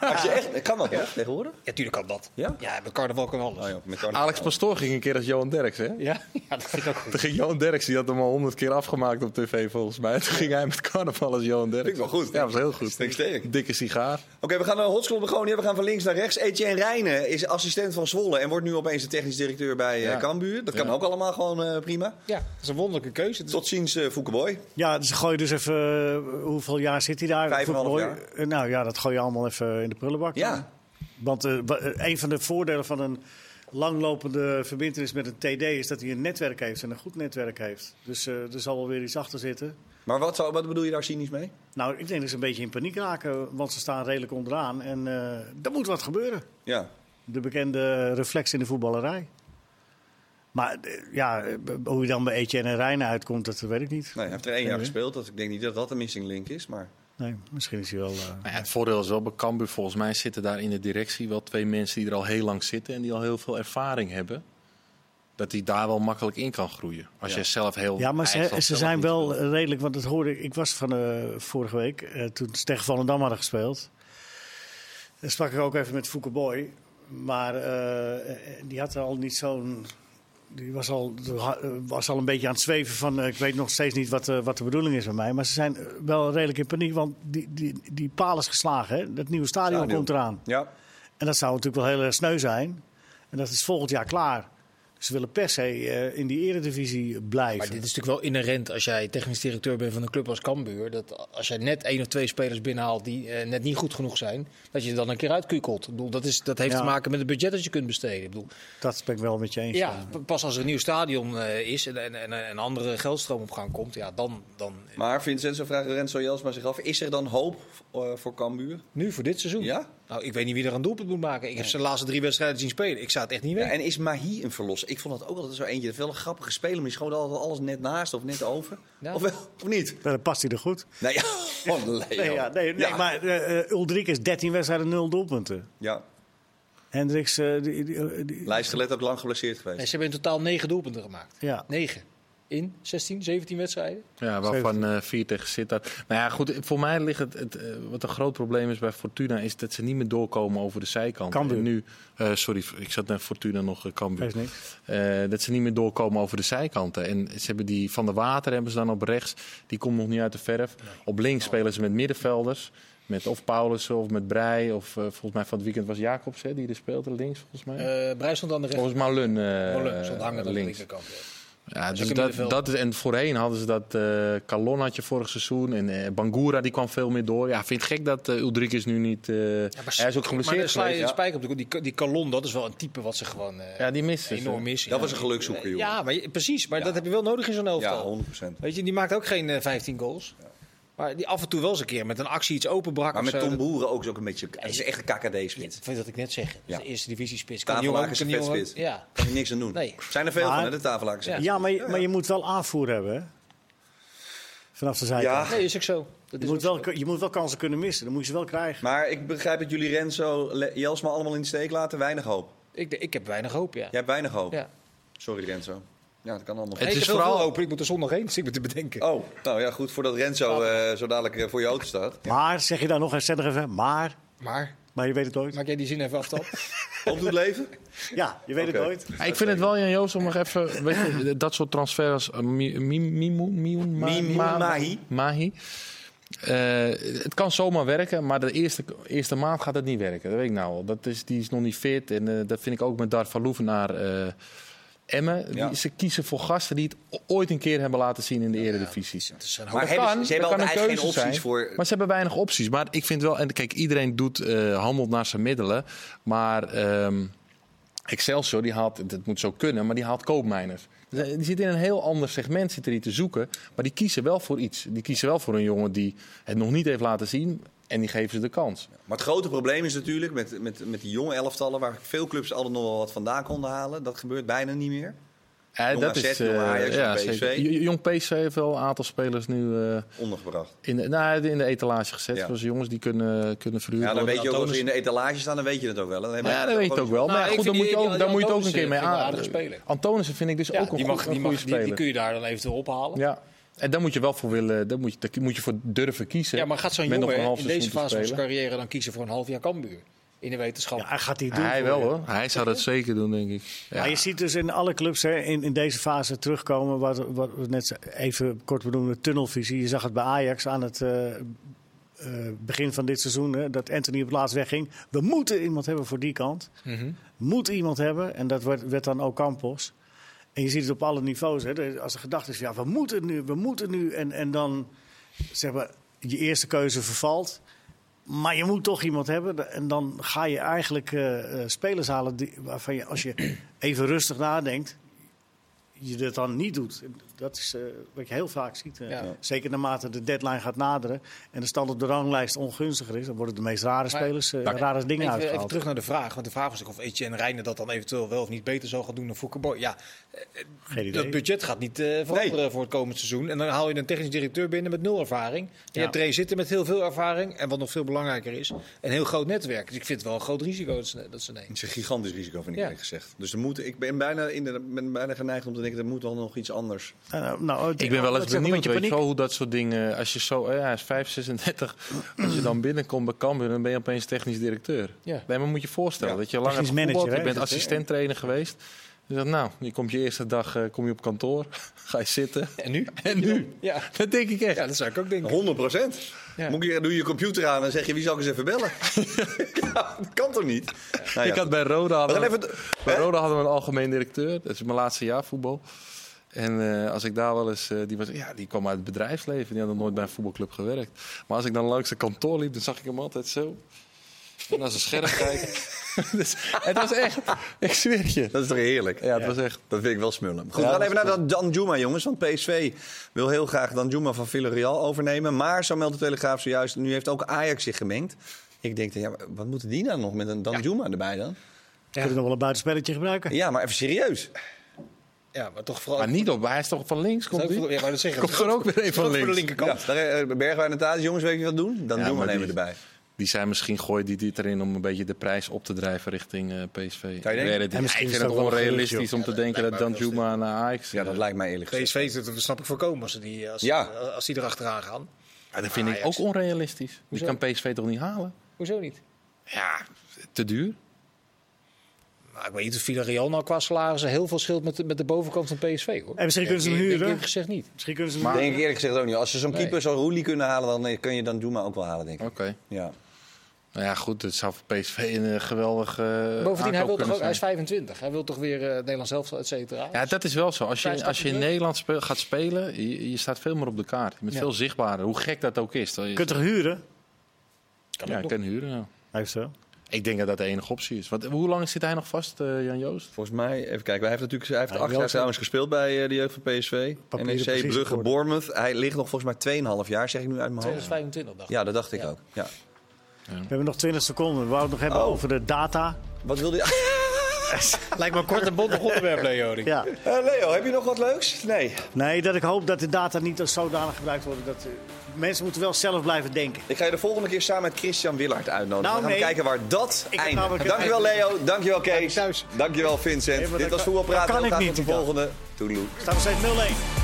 [SPEAKER 1] Als je echt, <laughs> kan dat, hè, tegenwoordig?
[SPEAKER 2] <laughs> Ja, tuurlijk kan dat.
[SPEAKER 1] Ja?
[SPEAKER 2] ja met carnaval kan alles.
[SPEAKER 1] Oh, ja, met carnaval.
[SPEAKER 4] Alex Pastoor ging een keer als Johan Derks, hè?
[SPEAKER 2] Ja, ja, dat vind ik ook goed.
[SPEAKER 4] Toen ging Johan Derks, die had hem al honderd keer afgemaakt op tv volgens mij. Toen ging hij met carnaval als Johan Derks.
[SPEAKER 1] Vind ik wel goed.
[SPEAKER 4] Ja, was heel goed.
[SPEAKER 1] Vind ik sterk.
[SPEAKER 4] Dikke sigaar.
[SPEAKER 1] Oké, we gaan naar Hotskop Begonia. We gaan van links naar rechts. Etienne Rijnen is assistent van Zwolle en wordt nu opeens de technisch directeur bij eh,
[SPEAKER 4] Ja.
[SPEAKER 1] Cambuur. Dat kan
[SPEAKER 4] Ja.
[SPEAKER 1] ook allemaal gewoon eh, prima.
[SPEAKER 2] Ja, dat is een wonderlijke keuze. Het is-
[SPEAKER 1] Tot ziens, eh Foukeboy.
[SPEAKER 3] Ja, dus gooi je dus even. eh, Hoeveel jaar zit hij daar?
[SPEAKER 1] Vijf en een half
[SPEAKER 3] Voetbal-
[SPEAKER 1] jaar.
[SPEAKER 3] Eh, Nou ja, dat gooi je allemaal even in de prullenbak.
[SPEAKER 1] Ja.
[SPEAKER 3] Want eh, wa- eh, een van de voordelen van een langlopende verbindenis met een TD is dat hij een netwerk heeft en een goed netwerk heeft. Dus eh, er zal wel weer iets achter zitten.
[SPEAKER 1] Maar wat, zou- wat bedoel je daar cynisch mee?
[SPEAKER 3] Nou, ik denk dat ze een beetje in paniek raken, want ze staan redelijk onderaan. En eh er moet wat gebeuren.
[SPEAKER 1] Ja.
[SPEAKER 3] De bekende reflex in de voetballerij. Maar eh, ja, eh, hoe je dan bij Etienne en Rijnen uitkomt, dat weet ik niet.
[SPEAKER 1] Nee, hij heeft er één jaar gespeeld. Dat, ik denk niet dat dat een missing link is, maar...
[SPEAKER 3] Nee, misschien is hij wel... eh,
[SPEAKER 4] Nou ja, het voordeel is wel bij Cambuur. Volgens mij zitten daar in de directie wel twee mensen die er al heel lang zitten en die al heel veel ervaring hebben. Dat die daar wel makkelijk in kan groeien. Als jij zelf heel.
[SPEAKER 3] Ja, maar ze,
[SPEAKER 4] eigenlijk
[SPEAKER 3] ze
[SPEAKER 4] zelf
[SPEAKER 3] zijn
[SPEAKER 4] niet
[SPEAKER 3] wel
[SPEAKER 4] wil.
[SPEAKER 3] redelijk, want dat hoorde ik. Ik was van eh, vorige week, eh, toen ze tegen Volendam hadden gespeeld. Dan sprak ik ook even met Fouke Boy. Maar eh, eh, die had al niet zo'n... Die was al, was al een beetje aan het zweven van... eh, ik weet nog steeds niet wat, eh, wat de bedoeling is met mij. Maar ze zijn eh, wel redelijk in paniek, want die, die, die paal is geslagen. Hè? Dat nieuwe stadion
[SPEAKER 1] Stadion.
[SPEAKER 3] komt eraan.
[SPEAKER 1] Ja.
[SPEAKER 3] En dat zou natuurlijk wel heel erg sneu zijn. En dat is volgend jaar klaar. Ze willen per se eh, in die eredivisie blijven.
[SPEAKER 2] Maar dit is natuurlijk wel inherent als jij technisch directeur bent van een club als Cambuur. Dat als jij net één of twee spelers binnenhaalt die eh, net niet goed genoeg zijn, dat je er dan een keer uitkukelt. Ik bedoel, dat, is, dat heeft
[SPEAKER 3] Ja.
[SPEAKER 2] te maken met het budget dat je kunt besteden. Ik bedoel,
[SPEAKER 3] Dat ben ik wel met je eens. Eh,
[SPEAKER 2] ja, p- pas als er een nieuw stadion eh, is en, en, en een andere geldstroom op gang komt, ja, dan, dan
[SPEAKER 1] Maar Vincenzo vraagt Renzo Jelsma zich af, is er dan hoop eh, voor Cambuur?
[SPEAKER 2] nu voor dit seizoen.
[SPEAKER 1] Ja?
[SPEAKER 2] Nou, ik weet niet wie er een doelpunt moet maken. Ik heb ze de laatste drie wedstrijden zien spelen. Ik zou het echt niet
[SPEAKER 1] Ja,
[SPEAKER 2] weten.
[SPEAKER 1] en is Mahi een verlosser? Ik vond dat ook altijd zo eentje. Dat is wel een grappige speler, maar die schoot altijd alles net naast of net over.
[SPEAKER 2] Ja.
[SPEAKER 1] Of, wel, of niet?
[SPEAKER 3] Dan past hij er goed.
[SPEAKER 1] Nee, ja. Oh, Leo.
[SPEAKER 3] Nee, ja, nee, nee,
[SPEAKER 1] Ja.
[SPEAKER 3] maar eh eh, Ulrik is 13 wedstrijden, 0 doelpunten.
[SPEAKER 1] Ja,
[SPEAKER 3] Hendricks, eh, die, die, die-
[SPEAKER 1] Lijstgelet ook lang geblesseerd geweest.
[SPEAKER 2] Nee, ze hebben in totaal negen doelpunten gemaakt.
[SPEAKER 3] ja.
[SPEAKER 2] 9 in 16, 17 wedstrijden.
[SPEAKER 4] Ja, waarvan eh, vier tegen Sittard. Nou ja, goed, voor mij ligt het, het eh, wat een groot probleem is bij Fortuna, is dat ze niet meer doorkomen over de zijkant.
[SPEAKER 3] Cambuur.
[SPEAKER 4] En nu, eh, sorry, ik zat naar Fortuna nog, eh, Cambuur.
[SPEAKER 3] Geeft niks.
[SPEAKER 4] Eh, dat ze niet meer doorkomen over de zijkanten. En ze hebben die van de water hebben ze dan op rechts. Die komt nog niet uit de verf. Op links spelen ze met middenvelders. Met of Paulus of met Breij. Of eh, volgens mij van het weekend was Jacobs hè, die er speelde links volgens mij.
[SPEAKER 2] Eh Breij stond aan de rechter.
[SPEAKER 4] volgens Malun eh
[SPEAKER 2] Molen stond hangen aan de
[SPEAKER 4] links.
[SPEAKER 2] linkerkant.
[SPEAKER 4] Ja, dus
[SPEAKER 2] ook een
[SPEAKER 4] dat,
[SPEAKER 2] middenveld.
[SPEAKER 4] dat is, en voorheen hadden ze dat. eh Calon had je vorig seizoen. En eh, Bangura die kwam veel meer door. Ja, vind ik gek dat eh Ulrik is nu niet. eh, hij is ook
[SPEAKER 2] Maar dan
[SPEAKER 4] geblesseerd
[SPEAKER 2] sla je
[SPEAKER 4] geweest.
[SPEAKER 2] een spijker op de kop. Die, die Calon, dat is wel een type wat ze gewoon eh,
[SPEAKER 4] Ja, die mist het,
[SPEAKER 2] enorm
[SPEAKER 4] eh.
[SPEAKER 2] missen.
[SPEAKER 1] Dat was een gelukszoeker, joh.
[SPEAKER 2] Ja, maar, je- precies. Maar dat heb je wel nodig in zo'n
[SPEAKER 1] Ja,
[SPEAKER 2] elftal.
[SPEAKER 1] 100 procent.
[SPEAKER 2] Weet je, die maakt ook geen eh, 15 goals. Maar die af en toe wel eens een keer met een actie iets openbrak.
[SPEAKER 1] Maar
[SPEAKER 2] of
[SPEAKER 1] met
[SPEAKER 2] zo.
[SPEAKER 1] Tom Boeren ook, is ook een beetje... Het is echt een KKD-spits.
[SPEAKER 2] Dat vind ik dat ik net zeg.
[SPEAKER 1] Ja.
[SPEAKER 2] De eerste divisie spits.
[SPEAKER 1] Tafellaken is een
[SPEAKER 2] die jongen-
[SPEAKER 1] vetspits.
[SPEAKER 2] Ja.
[SPEAKER 1] Kan je niks aan doen.
[SPEAKER 2] Nee.
[SPEAKER 1] Zijn er veel
[SPEAKER 3] Maar-
[SPEAKER 1] van, hè, de tafellakers.
[SPEAKER 2] Ja.
[SPEAKER 3] ja, maar, je- maar je moet wel aanvoer hebben, hè? Vanaf de zijkant.
[SPEAKER 1] Ja,
[SPEAKER 2] Nee, is ook zo. Dat
[SPEAKER 3] Je
[SPEAKER 2] is
[SPEAKER 3] moet,
[SPEAKER 2] ook zo.
[SPEAKER 3] wel, je moet wel kansen kunnen missen, dan moet je ze wel krijgen.
[SPEAKER 1] maar ik begrijp dat jullie Renzo, Le- Jelsma allemaal in de steek laten. Weinig hoop.
[SPEAKER 2] Ik, ik heb weinig hoop, ja.
[SPEAKER 1] Jij hebt weinig hoop.
[SPEAKER 2] Ja.
[SPEAKER 1] Sorry, Renzo. Ja, dat kan allemaal.
[SPEAKER 4] Het
[SPEAKER 2] Het
[SPEAKER 4] is
[SPEAKER 2] is
[SPEAKER 4] vooral-
[SPEAKER 2] vooral open. Ik moet er zondag heen, zit ik me te bedenken.
[SPEAKER 1] Oh, nou ja, goed. Voordat Renzo eh, zo dadelijk eh, voor je auto staat.
[SPEAKER 3] Maar, zeg je dan nog eens zettig even, maar,
[SPEAKER 2] Maar
[SPEAKER 3] maar je weet het nooit.
[SPEAKER 2] maak jij die zin even af dan?
[SPEAKER 1] Op doet leven.
[SPEAKER 3] Ja, je weet
[SPEAKER 1] Oké.
[SPEAKER 3] het nooit.
[SPEAKER 4] ik vind het wel, Jan Joost, om nog even weet je, dat soort transfers. eh, Mi- Mi- Mimoen- Mioen- Ma-
[SPEAKER 1] Mimoen
[SPEAKER 4] Ma-
[SPEAKER 1] Mahi.
[SPEAKER 4] Mahi. Eh, het kan zomaar werken, maar de eerste, eerste maand gaat het niet werken. Dat weet ik nou al. Dat is, die is nog niet fit. En eh, dat vind ik ook met Dar van Loeven naar eh, Emmen. Die-
[SPEAKER 1] Ja.
[SPEAKER 4] ze kiezen voor gasten die het o- ooit een keer hebben laten zien in de Eredivisie.
[SPEAKER 2] Het is een hoop.
[SPEAKER 1] Maar
[SPEAKER 4] Dat
[SPEAKER 1] hebben, ze-
[SPEAKER 4] kan,
[SPEAKER 1] ze hebben
[SPEAKER 4] dat
[SPEAKER 1] ook
[SPEAKER 4] kan een
[SPEAKER 1] eigenlijk geen
[SPEAKER 4] keuze
[SPEAKER 1] opties
[SPEAKER 4] zijn.
[SPEAKER 1] voor.
[SPEAKER 4] Maar ze hebben weinig opties. Maar ik vind wel, en kijk, iedereen doet, eh, handelt naar zijn middelen. Maar ehm, Excelsior, die haalt, dat moet zo kunnen, maar die haalt koopmijners. Dus, eh, Die zit in een heel ander segment, zit er hier te zoeken. Maar die kiezen wel voor iets. Die kiezen wel voor een jongen die het nog niet heeft laten zien. En die geven ze de kans.
[SPEAKER 1] Maar het grote probleem is natuurlijk met, met, met die jonge elftallen, waar veel clubs altijd nog wel wat vandaan konden halen. Dat gebeurt bijna niet meer.
[SPEAKER 4] Eh,
[SPEAKER 1] Jong AZ,
[SPEAKER 4] eh,
[SPEAKER 1] jong Ajax, jong PSV.
[SPEAKER 4] zeker. J- Jong PSV heeft wel een aantal spelers nu eh,
[SPEAKER 1] Ondergebracht.
[SPEAKER 4] in, de, nou, in de etalage gezet.
[SPEAKER 1] Ja.
[SPEAKER 4] Dus jongens die kunnen, kunnen verhuurd
[SPEAKER 1] Ja, dan
[SPEAKER 4] worden.
[SPEAKER 1] weet je ook als ze
[SPEAKER 4] Antonis-
[SPEAKER 1] in de etalage staan, dan weet je het ook wel. Dan hebben
[SPEAKER 4] Ja,
[SPEAKER 1] we-
[SPEAKER 4] dat weet ik ook wel.
[SPEAKER 2] Nou,
[SPEAKER 4] maar
[SPEAKER 2] ik
[SPEAKER 4] goed,
[SPEAKER 2] vind
[SPEAKER 4] dan moet
[SPEAKER 2] die-
[SPEAKER 4] je ook,
[SPEAKER 2] die
[SPEAKER 4] dan moet je het ook een
[SPEAKER 2] Antonissen
[SPEAKER 4] keer mee
[SPEAKER 2] vind ik
[SPEAKER 4] aan.
[SPEAKER 2] een aardige speler.
[SPEAKER 4] Antonissen vind ik dus
[SPEAKER 2] Ja,
[SPEAKER 4] ook een,
[SPEAKER 2] die, mag,
[SPEAKER 4] goe-
[SPEAKER 2] die,
[SPEAKER 4] een goede
[SPEAKER 2] mag, die, die
[SPEAKER 4] speler.
[SPEAKER 2] kun je daar dan eventueel ophalen.
[SPEAKER 4] Ja. En daar moet je wel voor willen, daar moet je, daar moet je voor durven kiezen.
[SPEAKER 2] Ja, maar gaat zo'n
[SPEAKER 4] Met nog
[SPEAKER 2] jongen
[SPEAKER 4] een half
[SPEAKER 2] in deze
[SPEAKER 4] seizoen te
[SPEAKER 2] fase van zijn
[SPEAKER 4] spelen.
[SPEAKER 2] carrière dan kiezen voor een half jaar Cambuur? In de wetenschap.
[SPEAKER 3] Ja, hij gaat die doen.
[SPEAKER 4] Hij
[SPEAKER 3] voor
[SPEAKER 4] wel
[SPEAKER 3] je.
[SPEAKER 4] hoor. Hij zou dat zeker doen, denk ik. Ja.
[SPEAKER 3] Maar je ziet dus in alle clubs hè, in, in deze fase terugkomen, wat, wat we net ze- even kort benoemden, tunnelvisie. Je zag het bij Ajax aan het eh, eh, begin van dit seizoen, hè, dat Anthony op het laatst wegging. We moeten iemand hebben voor die kant. Moet iemand hebben, en dat werd, werd dan ook Campos. En je ziet het op alle niveaus. Hè. Er- Als de gedachte is, ja, we moeten nu, we moeten nu. En, en dan, zeg maar, je eerste keuze vervalt. Maar je moet toch iemand hebben. En dan ga je eigenlijk eh, eh, spelers halen die, waarvan je, als
[SPEAKER 4] <clears throat>
[SPEAKER 3] je even rustig nadenkt, je dat dan niet doet. En Dat is eh, wat je heel vaak ziet. eh.
[SPEAKER 2] Ja.
[SPEAKER 3] Zeker naarmate de deadline gaat naderen en de stand op de ranglijst ongunstiger is, dan worden de meest rare spelers eh, rare dingen
[SPEAKER 2] even, even
[SPEAKER 3] uitgehaald.
[SPEAKER 2] terug naar de vraag. Want de vraag was ook of Etienne Reijnen dat dan eventueel wel of niet beter zou gaan doen dan Foucault. Ja,
[SPEAKER 3] Geen idee.
[SPEAKER 2] dat budget gaat niet eh, veranderen voor het komend seizoen. En dan haal je een technisch directeur binnen met nul ervaring. En je hebt er een zitten met heel veel ervaring. En wat nog veel belangrijker is, een heel groot netwerk. Dus ik vind het wel een groot risico dat ze, dat ze nemen.
[SPEAKER 1] Het is een gigantisch risico, vind ik
[SPEAKER 2] Ja.
[SPEAKER 1] eerlijk gezegd. Dus er moet, ik ben bijna, in de, ben bijna geneigd om te denken, er moet wel nog iets anders.
[SPEAKER 3] Eh, nou, het-
[SPEAKER 4] Ik ben wel
[SPEAKER 3] dat
[SPEAKER 4] eens
[SPEAKER 3] is ook een beetje
[SPEAKER 4] benieuwd, weet je
[SPEAKER 3] paniek.
[SPEAKER 4] wel, hoe dat soort dingen... Als je zo, eh, hij is
[SPEAKER 3] <clears throat>
[SPEAKER 4] 5, 36, als je dan binnenkomt bij Cambuur, dan ben je opeens technisch directeur.
[SPEAKER 2] Ja.
[SPEAKER 4] Nee, maar moet je voorstellen
[SPEAKER 1] Ja.
[SPEAKER 4] dat je langer
[SPEAKER 3] Technisch
[SPEAKER 4] hebt gevoetbald,
[SPEAKER 3] manager,
[SPEAKER 4] je
[SPEAKER 3] hè,
[SPEAKER 4] bent
[SPEAKER 3] is het, hè?
[SPEAKER 4] assistent trainer geweest. Dus dan, nou, je komt je eerste dag eh, kom je op kantoor, <laughs> ga je zitten.
[SPEAKER 2] En nu?
[SPEAKER 4] En nu?
[SPEAKER 2] Ja.
[SPEAKER 4] Dat denk ik echt. Oh.
[SPEAKER 2] ja, dat zou ik ook denken.
[SPEAKER 1] 100 procent.
[SPEAKER 2] Ja.
[SPEAKER 1] Moet je, doe je computer aan en zeg je, wie zal ik eens even
[SPEAKER 4] <laughs>
[SPEAKER 1] bellen? <laughs> ja, dat kan toch niet? Nou ja,
[SPEAKER 4] ik had bij Roda, hadden,
[SPEAKER 1] gaan
[SPEAKER 4] we-
[SPEAKER 1] even d-
[SPEAKER 4] bij
[SPEAKER 1] hè?
[SPEAKER 4] Roda hadden we een algemeen directeur. Dat is mijn laatste jaar voetbal. En eh, als ik daar wel eens... eh, die, was, ja, die kwam uit het bedrijfsleven. Die had nog nooit bij een voetbalclub gewerkt. Maar als ik dan langs zijn kantoor liep, dan zag ik hem altijd zo. En als een scherm kijken. dus, het was echt... Ik zweer het je.
[SPEAKER 1] dat is toch heerlijk?
[SPEAKER 4] Ja, het was echt...
[SPEAKER 1] Dat vind ik wel smullen. Goed, we
[SPEAKER 4] Ja,
[SPEAKER 1] gaan
[SPEAKER 4] dat
[SPEAKER 1] even naar Dan- Danjuma, jongens. Want PSV wil heel graag Danjuma van Villarreal overnemen. Maar, zo meldt de Telegraaf zojuist, nu heeft ook Ajax zich gemengd. Ik denk, ja, maar wat moeten die nou nog met een Danjuma erbij dan?
[SPEAKER 3] Kunnen we nog wel een buitenspelletje gebruiken?
[SPEAKER 1] Ja, maar even
[SPEAKER 4] <laughs>
[SPEAKER 1] serieus.
[SPEAKER 2] Ja, maar toch vooral...
[SPEAKER 4] Maar niet op... Hij is toch van links? Komt
[SPEAKER 2] Zou ik
[SPEAKER 4] die?
[SPEAKER 2] voor- ja, maar dat zeggen.
[SPEAKER 4] Komt er ook weer een van
[SPEAKER 2] Ook voor de
[SPEAKER 4] links?
[SPEAKER 2] linkerkant.
[SPEAKER 1] Ja, daar, eh, Bergwijn en Thadis, jongens, weet je wat doen? Dan
[SPEAKER 4] Ja,
[SPEAKER 1] doen we
[SPEAKER 4] maar
[SPEAKER 1] nemen we
[SPEAKER 4] die-
[SPEAKER 1] erbij.
[SPEAKER 4] Die zijn misschien gooien die dit erin om een beetje de prijs op te drijven richting eh, PSV.
[SPEAKER 1] Kan je denken?
[SPEAKER 4] Ja, dit-
[SPEAKER 3] En misschien
[SPEAKER 4] ik
[SPEAKER 3] is
[SPEAKER 4] vind
[SPEAKER 3] het
[SPEAKER 4] het
[SPEAKER 3] ook wel een
[SPEAKER 4] onrealistisch
[SPEAKER 3] gerucht,
[SPEAKER 4] om te denken dat Dan Juma naar Ajax...
[SPEAKER 1] Ja, dat lijkt mij eerlijk gezegd.
[SPEAKER 2] PSV, dat dat snap ik voorkomen als ze die, als,
[SPEAKER 1] Ja.
[SPEAKER 2] als die erachteraan gaan.
[SPEAKER 4] Ja, dat vind ik ook
[SPEAKER 2] Ajax.
[SPEAKER 4] onrealistisch. Die
[SPEAKER 2] Hoezo?
[SPEAKER 4] kan PSV toch niet halen?
[SPEAKER 2] Hoezo niet?
[SPEAKER 4] Ja, te duur.
[SPEAKER 2] Nou, ik weet niet of Villarreal nou qua salarissen heel veel scheelt met de, met de bovenkant van PSV. Hoor.
[SPEAKER 3] En misschien kunnen ze hem
[SPEAKER 2] Ik denk
[SPEAKER 3] huren.
[SPEAKER 2] eerlijk gezegd niet.
[SPEAKER 3] Misschien kunnen ze
[SPEAKER 1] denk ik eerlijk gezegd ook niet. Als ze zo'n
[SPEAKER 4] Nee.
[SPEAKER 1] keeper zo'n Roelie kunnen halen, dan eh, kun je dan Douma ook wel halen, denk ik.
[SPEAKER 4] Oké.
[SPEAKER 1] Ja.
[SPEAKER 4] Nou ja, goed, het zou voor PSV een eh, geweldig. eh,
[SPEAKER 2] Bovendien, hij,
[SPEAKER 4] aankoop
[SPEAKER 2] wil toch
[SPEAKER 4] kunnen
[SPEAKER 2] ook, hij is
[SPEAKER 4] zijn.
[SPEAKER 2] 25. Hij wil toch weer eh Nederlands zelf, et cetera.
[SPEAKER 4] Ja, dat is wel zo. Als je,
[SPEAKER 2] Prijs
[SPEAKER 4] als je in
[SPEAKER 2] staat
[SPEAKER 4] Nederland speel- gaat spelen, je, je staat veel meer op de kaart. Je bent
[SPEAKER 2] Ja.
[SPEAKER 4] veel zichtbaarder, hoe gek dat ook is. Dat
[SPEAKER 3] Je
[SPEAKER 4] je-
[SPEAKER 3] kunt er huren.
[SPEAKER 2] Kan
[SPEAKER 4] ja,
[SPEAKER 2] ook
[SPEAKER 4] je
[SPEAKER 2] nog.
[SPEAKER 4] kan huren. ja.
[SPEAKER 3] Eventueel.
[SPEAKER 4] Ik denk dat dat de enige optie is. Want, hoe lang zit hij nog vast, eh, Jan Joost?
[SPEAKER 1] Volgens mij, even kijken, hij heeft natuurlijk hij heeft
[SPEAKER 3] Ja,
[SPEAKER 1] acht jaar
[SPEAKER 3] Jansen.
[SPEAKER 1] trouwens gespeeld bij eh, de jeugd van PSV.
[SPEAKER 3] Papieren precies
[SPEAKER 1] NEC, E Brugge,
[SPEAKER 3] geworden.
[SPEAKER 1] Bournemouth. Hij ligt nog volgens mij 2,5 jaar, zeg ik nu uit mijn hoofd.
[SPEAKER 2] 2025 dacht ik.
[SPEAKER 1] Ja, dat dacht ik ook. Ja.
[SPEAKER 3] We hebben nog 20 seconden. We wouden het nog hebben
[SPEAKER 1] Oh.
[SPEAKER 3] over de data.
[SPEAKER 1] Wat wilde je? <laughs>
[SPEAKER 2] Lijkt me een kort en bondig onderwerp, Leo.
[SPEAKER 3] Ja.
[SPEAKER 1] Eh, Leo, heb je nog wat leuks? Nee.
[SPEAKER 3] Nee, dat ik hoop dat de data niet als zodanig gebruikt worden. Dat, eh, mensen moeten wel zelf blijven denken.
[SPEAKER 1] Ik ga je de volgende keer samen met Christian Willaert uitnodigen.
[SPEAKER 3] Nou,
[SPEAKER 1] we gaan
[SPEAKER 3] nee.
[SPEAKER 1] kijken waar dat
[SPEAKER 3] Ik heb
[SPEAKER 1] eindigt.
[SPEAKER 3] namelijk-
[SPEAKER 1] Dankjewel Leo, dankjewel Kees,
[SPEAKER 2] thuis.
[SPEAKER 1] dankjewel Vincent.
[SPEAKER 3] Nee, maar
[SPEAKER 1] Dit
[SPEAKER 3] dat
[SPEAKER 1] was
[SPEAKER 3] kan-
[SPEAKER 1] Voetbal Praten.
[SPEAKER 3] dat kan
[SPEAKER 1] Heel
[SPEAKER 3] ik
[SPEAKER 1] graag
[SPEAKER 3] niet
[SPEAKER 1] tot de
[SPEAKER 3] die dag.
[SPEAKER 1] volgende. Toedeloe.
[SPEAKER 3] Het staat nog steeds 0-1.